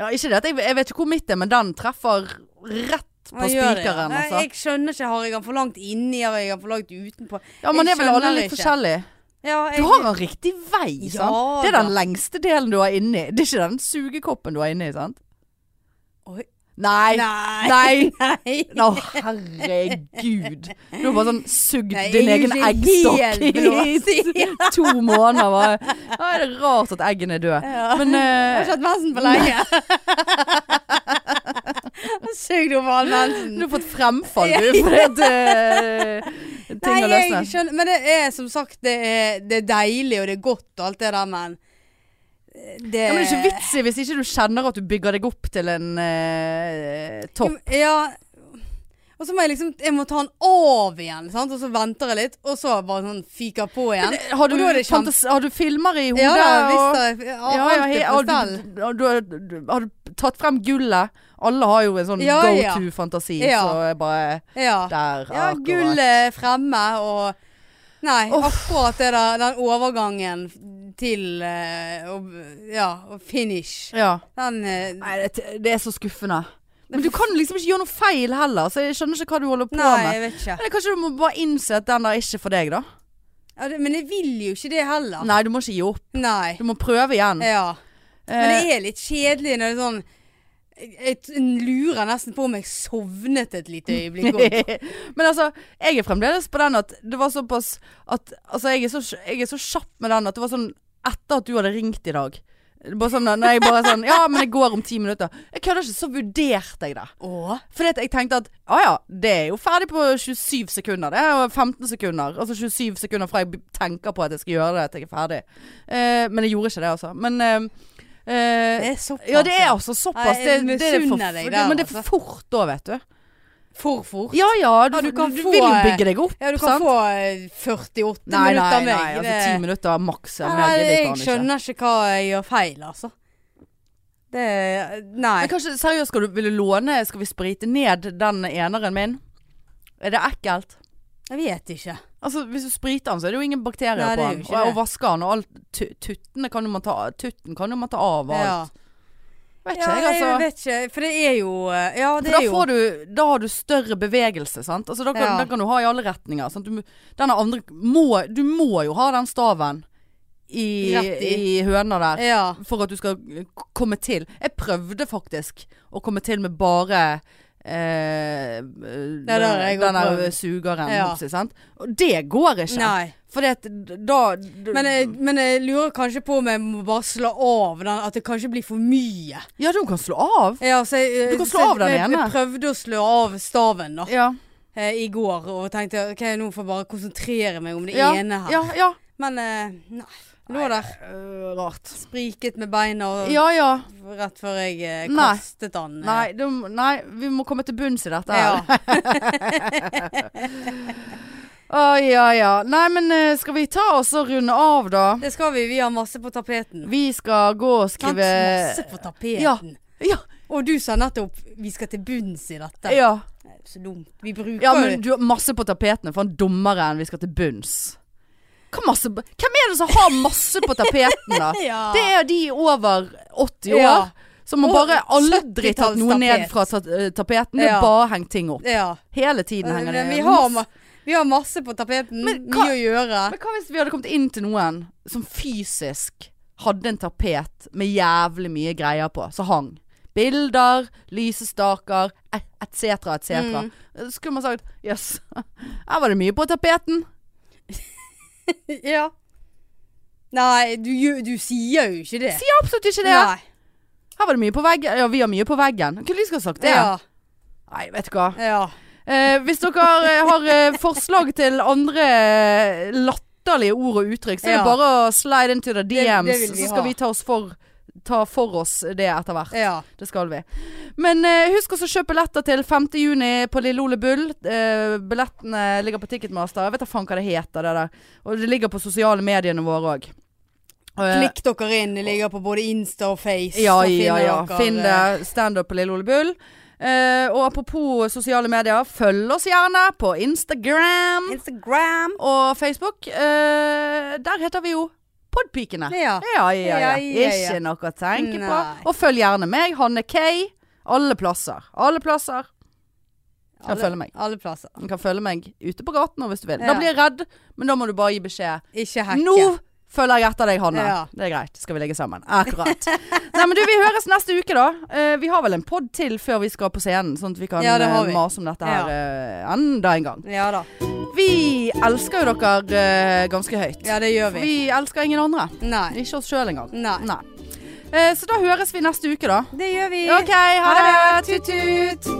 Speaker 1: Ja, ikke det at jeg, jeg vet ikke hvor mitt er, men den treffer rett på
Speaker 2: Han gjør det, ja.
Speaker 1: spikeren.
Speaker 2: Nei,
Speaker 1: Altså.
Speaker 2: Jeg skjønner ikke. Har jeg han for langt inni, har jeg han for langt utenpå?
Speaker 1: Ja, men det
Speaker 2: jeg
Speaker 1: er vel alle
Speaker 2: skjønner
Speaker 1: litt
Speaker 2: ikke.
Speaker 1: forskjellige.
Speaker 2: Ja,
Speaker 1: Du
Speaker 2: jeg,
Speaker 1: har den riktig vei,
Speaker 2: Ja
Speaker 1: sant? det er den
Speaker 2: da.
Speaker 1: lengste delen du har inni. Det er ikke den sugekoppen du har inni, sant?
Speaker 2: Oi.
Speaker 1: Nei. Nei. Nei.
Speaker 2: Nei.
Speaker 1: Å, herregud. Du har bare sånn sugd
Speaker 2: Nei,
Speaker 1: din
Speaker 2: jeg er
Speaker 1: egen
Speaker 2: jo ikke
Speaker 1: eggstokk
Speaker 2: helt blåst.
Speaker 1: i to måneder. Bare. Ja, er det rart at eggen er død.
Speaker 2: Ja.
Speaker 1: Men
Speaker 2: Jeg
Speaker 1: eh,
Speaker 2: har ikke hatt mensen på lenge. Sugd over all mensen.
Speaker 1: du har fått fremfall, du, fordi at eh, ting har
Speaker 2: Nei, jeg
Speaker 1: løsnet.
Speaker 2: skjønner Men det er som sagt Det er, det er deilig og det er godt og alt det der, men eh, Det
Speaker 1: Ja, men det er ikke vits i hvis ikke du kjenner at du bygger deg opp til en eh, topp.
Speaker 2: Ja. Og så må jeg liksom Jeg må ta den av igjen, sant? og så venter jeg litt, og så bare sånn fyker på igjen.
Speaker 1: Har du,
Speaker 2: og da er det kjempe-
Speaker 1: fantas- har du filmer i hodet?
Speaker 2: Ja da,
Speaker 1: og-
Speaker 2: visst da.
Speaker 1: Ja, ja,
Speaker 2: Alt
Speaker 1: he-
Speaker 2: er
Speaker 1: har
Speaker 2: på
Speaker 1: du,
Speaker 2: stell.
Speaker 1: har du, du, har du tatt frem gullet? Alle har jo en sånn
Speaker 2: Ja,
Speaker 1: go
Speaker 2: ja.
Speaker 1: to-fantasi,
Speaker 2: Ja.
Speaker 1: så jeg bare
Speaker 2: Ja.
Speaker 1: Der.
Speaker 2: ja
Speaker 1: akkurat.
Speaker 2: Gull er fremme, og Nei,
Speaker 1: Uff.
Speaker 2: akkurat det der, den overgangen til eh, og- Ja, og finish.
Speaker 1: Ja.
Speaker 2: Den eh,
Speaker 1: Nei, det, det er så skuffende. Men du kan liksom ikke gjøre noe feil heller, så jeg skjønner ikke hva du holder på
Speaker 2: Nei,
Speaker 1: med.
Speaker 2: jeg vet ikke.
Speaker 1: Eller kanskje du må bare innse at den der er ikke for deg, da.
Speaker 2: Ja, det, men jeg vil jo ikke det heller.
Speaker 1: Nei, du må ikke gi opp.
Speaker 2: Nei.
Speaker 1: Du må prøve igjen.
Speaker 2: Ja. Men
Speaker 1: Eh,
Speaker 2: det er litt kjedelig når det er sånn jeg jeg lurer nesten på om jeg sovnet et lite øyeblikk. om-
Speaker 1: Men altså, jeg er fremdeles på den at det var såpass at Altså, jeg er så, jeg er så kjapp med den at det var sånn etter at du hadde ringt i dag. Bare sånn, nei, bare sånn Ja, men jeg går om ti minutter. Jeg kødder ikke, så vurderte jeg det.
Speaker 2: Å?
Speaker 1: Fordi at jeg tenkte at ja ja, det er jo ferdig på 27 sekunder. Det er jo 15 sekunder. Altså 27 sekunder fra jeg be- tenker på at jeg skal gjøre det, til jeg er ferdig. Eh, men jeg gjorde ikke det, altså. Men eh, eh,
Speaker 2: Det er såpass.
Speaker 1: Ja, det er altså såpass.
Speaker 2: Nei,
Speaker 1: Det,
Speaker 2: jeg
Speaker 1: det, er for,
Speaker 2: misunner deg
Speaker 1: det,
Speaker 2: der, altså.
Speaker 1: men det er for fort da, vet du.
Speaker 2: For fort.
Speaker 1: Ja ja, du,
Speaker 2: Ja, du
Speaker 1: du,
Speaker 2: kan
Speaker 1: Altså, du
Speaker 2: få,
Speaker 1: vil jo
Speaker 2: eh,
Speaker 1: bygge deg opp,
Speaker 2: Ja, du kan
Speaker 1: sant?
Speaker 2: få eh,
Speaker 1: nei,
Speaker 2: 48
Speaker 1: nei,
Speaker 2: minutter
Speaker 1: nei,
Speaker 2: meg.
Speaker 1: altså
Speaker 2: det-
Speaker 1: 10 minutter maks.
Speaker 2: Nei, jeg skjønner ikke hva jeg gjør feil, altså. Det Nei.
Speaker 1: Men kanskje seriøst, skal du vil du låne Skal vi sprite ned den eneren min? Er det ekkelt?
Speaker 2: Jeg vet ikke.
Speaker 1: Altså, hvis du spriter den, så er det jo ingen bakterier
Speaker 2: Nei, det
Speaker 1: på
Speaker 2: er jo
Speaker 1: den.
Speaker 2: ikke
Speaker 1: Og,
Speaker 2: det.
Speaker 1: og vasker den, og alt tu- tuttene kan jo man ta, tutten kan jo man ta av og alt.
Speaker 2: Ja.
Speaker 1: Vet
Speaker 2: Ja,
Speaker 1: ikke jeg, altså.
Speaker 2: jeg vet ikke. For det er jo eh, Ja,
Speaker 1: For
Speaker 2: det
Speaker 1: da,
Speaker 2: er jo
Speaker 1: får du, da har du større bevegelse, sant? Altså, da kan,
Speaker 2: Ja.
Speaker 1: den kan du ha i alle retninger. Sant? Du, må- denne andre må, du må jo ha den staven i,
Speaker 2: Rett i.
Speaker 1: i høna der.
Speaker 2: Ja.
Speaker 1: For at du skal eh, k- komme til. Jeg prøvde faktisk å komme til med bare eh, den
Speaker 2: der har jeg
Speaker 1: den
Speaker 2: også
Speaker 1: der
Speaker 2: prøvd.
Speaker 1: sugeren.
Speaker 2: Ja.
Speaker 1: hoppsi, sant? Og det går ikke.
Speaker 2: Nei.
Speaker 1: For da d-
Speaker 2: Men jeg, men jeg lurer kanskje på om jeg må bare slå av den, at det kanskje blir for mye.
Speaker 1: Ja, du kan slå av.
Speaker 2: Ja, så jeg, eh,
Speaker 1: Du kan slå
Speaker 2: så
Speaker 1: av den
Speaker 2: jeg,
Speaker 1: ene.
Speaker 2: Jeg prøvde å slå av staven da,
Speaker 1: Ja.
Speaker 2: eh, i går, og tenkte ok, nå får jeg bare konsentrere meg om det
Speaker 1: Ja,
Speaker 2: ene her.
Speaker 1: ja, ja.
Speaker 2: Men eh, nei. Lå der,
Speaker 1: Eh, rart.
Speaker 2: spriket med beina og
Speaker 1: Ja ja.
Speaker 2: rett før jeg eh,
Speaker 1: Nei.
Speaker 2: kastet den. eh.
Speaker 1: Nei, det, nei, vi må komme til bunns i dette. her.
Speaker 2: Ja.
Speaker 1: Å, ja, ja. Nei, men eh, skal vi ta oss og runde av, da?
Speaker 2: Det skal vi. Vi har masse på tapeten.
Speaker 1: Vi skal gå og
Speaker 2: Sant?
Speaker 1: skrive
Speaker 2: Masse på tapeten.
Speaker 1: Ja. Ja,
Speaker 2: Og du sa nettopp 'vi skal til bunns i dette'.
Speaker 1: ja.
Speaker 2: Nei, Så dumt. Vi bruker
Speaker 1: ja,
Speaker 2: jo
Speaker 1: men du har masse på tapetene for en dommere enn vi skal til bunns. Hva masse, hvem er det som har masse på tapeten, da?
Speaker 2: ja.
Speaker 1: Det er de over 80 år
Speaker 2: Ja.
Speaker 1: som har
Speaker 2: Og
Speaker 1: bare aldri tatt noe
Speaker 2: 70-tallstapet.
Speaker 1: ned fra ta- eh, tapeten. Det
Speaker 2: Ja.
Speaker 1: er bare hengt ting opp.
Speaker 2: Ja.
Speaker 1: Hele tiden henger det
Speaker 2: Men vi har,
Speaker 1: masse-
Speaker 2: ma- vi har masse på tapeten.
Speaker 1: Men hva-
Speaker 2: Mye å gjøre.
Speaker 1: Men hva hvis vi hadde kommet inn til noen som fysisk hadde en tapet med jævlig mye greier på, som hang? Bilder, lysestaker, etc., etc.
Speaker 2: Mm.
Speaker 1: Så skulle man sagt jøss, her var det mye på tapeten.
Speaker 2: Ja. Nei, du, gjør- du sier jo ikke det.
Speaker 1: Sier absolutt ikke det.
Speaker 2: Nei.
Speaker 1: Her var det mye på veggen. Ja, vi har mye på veggen. Kunne lyst til å ha sagt det.
Speaker 2: Ja.
Speaker 1: Nei, vet du hva.
Speaker 2: ja.
Speaker 1: Eh, hvis dere eh, har eh, forslag til andre eh, latterlige ord og uttrykk, så er
Speaker 2: Ja.
Speaker 1: det bare å slide into the
Speaker 2: det
Speaker 1: DMs,
Speaker 2: vil vi
Speaker 1: så
Speaker 2: ha.
Speaker 1: skal vi ta, oss for, ta for oss det etter hvert.
Speaker 2: ja.
Speaker 1: Det skal vi. Men eh, husk også å kjøpe billetter til 5. juni på Lille Ole Bull. Eh, billettene ligger på Ticketmaster. Jeg vet da faen hva det heter, det der. Og det ligger på sosiale mediene våre òg.
Speaker 2: Klikk dere inn. Det ligger på både Insta og Face.
Speaker 1: Eh. Ja,
Speaker 2: Så finner
Speaker 1: ja, ja.
Speaker 2: dere, eh,
Speaker 1: Finn det. Standup på Lille Ole Bull. Eh, og apropos sosiale medier, følg oss gjerne på Instagram
Speaker 2: eh, Instagram.
Speaker 1: og Facebook. Eh, der heter vi jo Podpikene.
Speaker 2: Ja.
Speaker 1: Ja, ja, ja.
Speaker 2: Ja, ja, ja.
Speaker 1: Ikke noe å tenke på.
Speaker 2: Nei.
Speaker 1: Og følg gjerne meg, Hanne K. Alle plasser. Alle plasser. Kan
Speaker 2: Alle-
Speaker 1: følge meg.
Speaker 2: Alle plasser.
Speaker 1: Du kan følge meg ute på gaten også, hvis du vil.
Speaker 2: Ja.
Speaker 1: Da blir jeg redd, men da må du bare gi beskjed.
Speaker 2: Ikke hacke.
Speaker 1: Nå følger jeg etter deg, Hanne.
Speaker 2: Ja.
Speaker 1: Det er greit. Skal vi ligge sammen? Akkurat. Nei, men du, vi høres neste uke, da. Eh, vi har vel en pod til før vi skal på scenen, sånn at vi kan
Speaker 2: Ja, det har
Speaker 1: eh,
Speaker 2: vi.
Speaker 1: mase om dette her eh, enda en gang.
Speaker 2: Ja da.
Speaker 1: Vi elsker jo dere eh, ganske høyt.
Speaker 2: Ja, det gjør vi.
Speaker 1: Vi elsker ingen andre.
Speaker 2: Nei.
Speaker 1: Ikke oss sjøl engang.
Speaker 2: Nei.
Speaker 1: Eh, så da høres vi neste uke, da.
Speaker 2: Det gjør vi.
Speaker 1: OK, ha det. Tut-tut.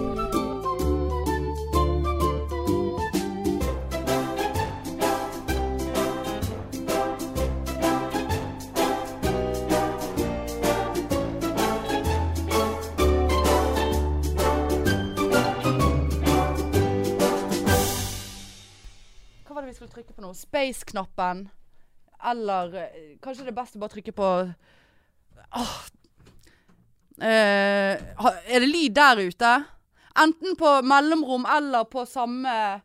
Speaker 1: Hva var det vi skulle trykke på nå? Space-knappen? Eller eh, kanskje det er best å bare trykke på Åh. Eh, ha- er det lyd der ute? Enten på mellomrom eller på samme eh,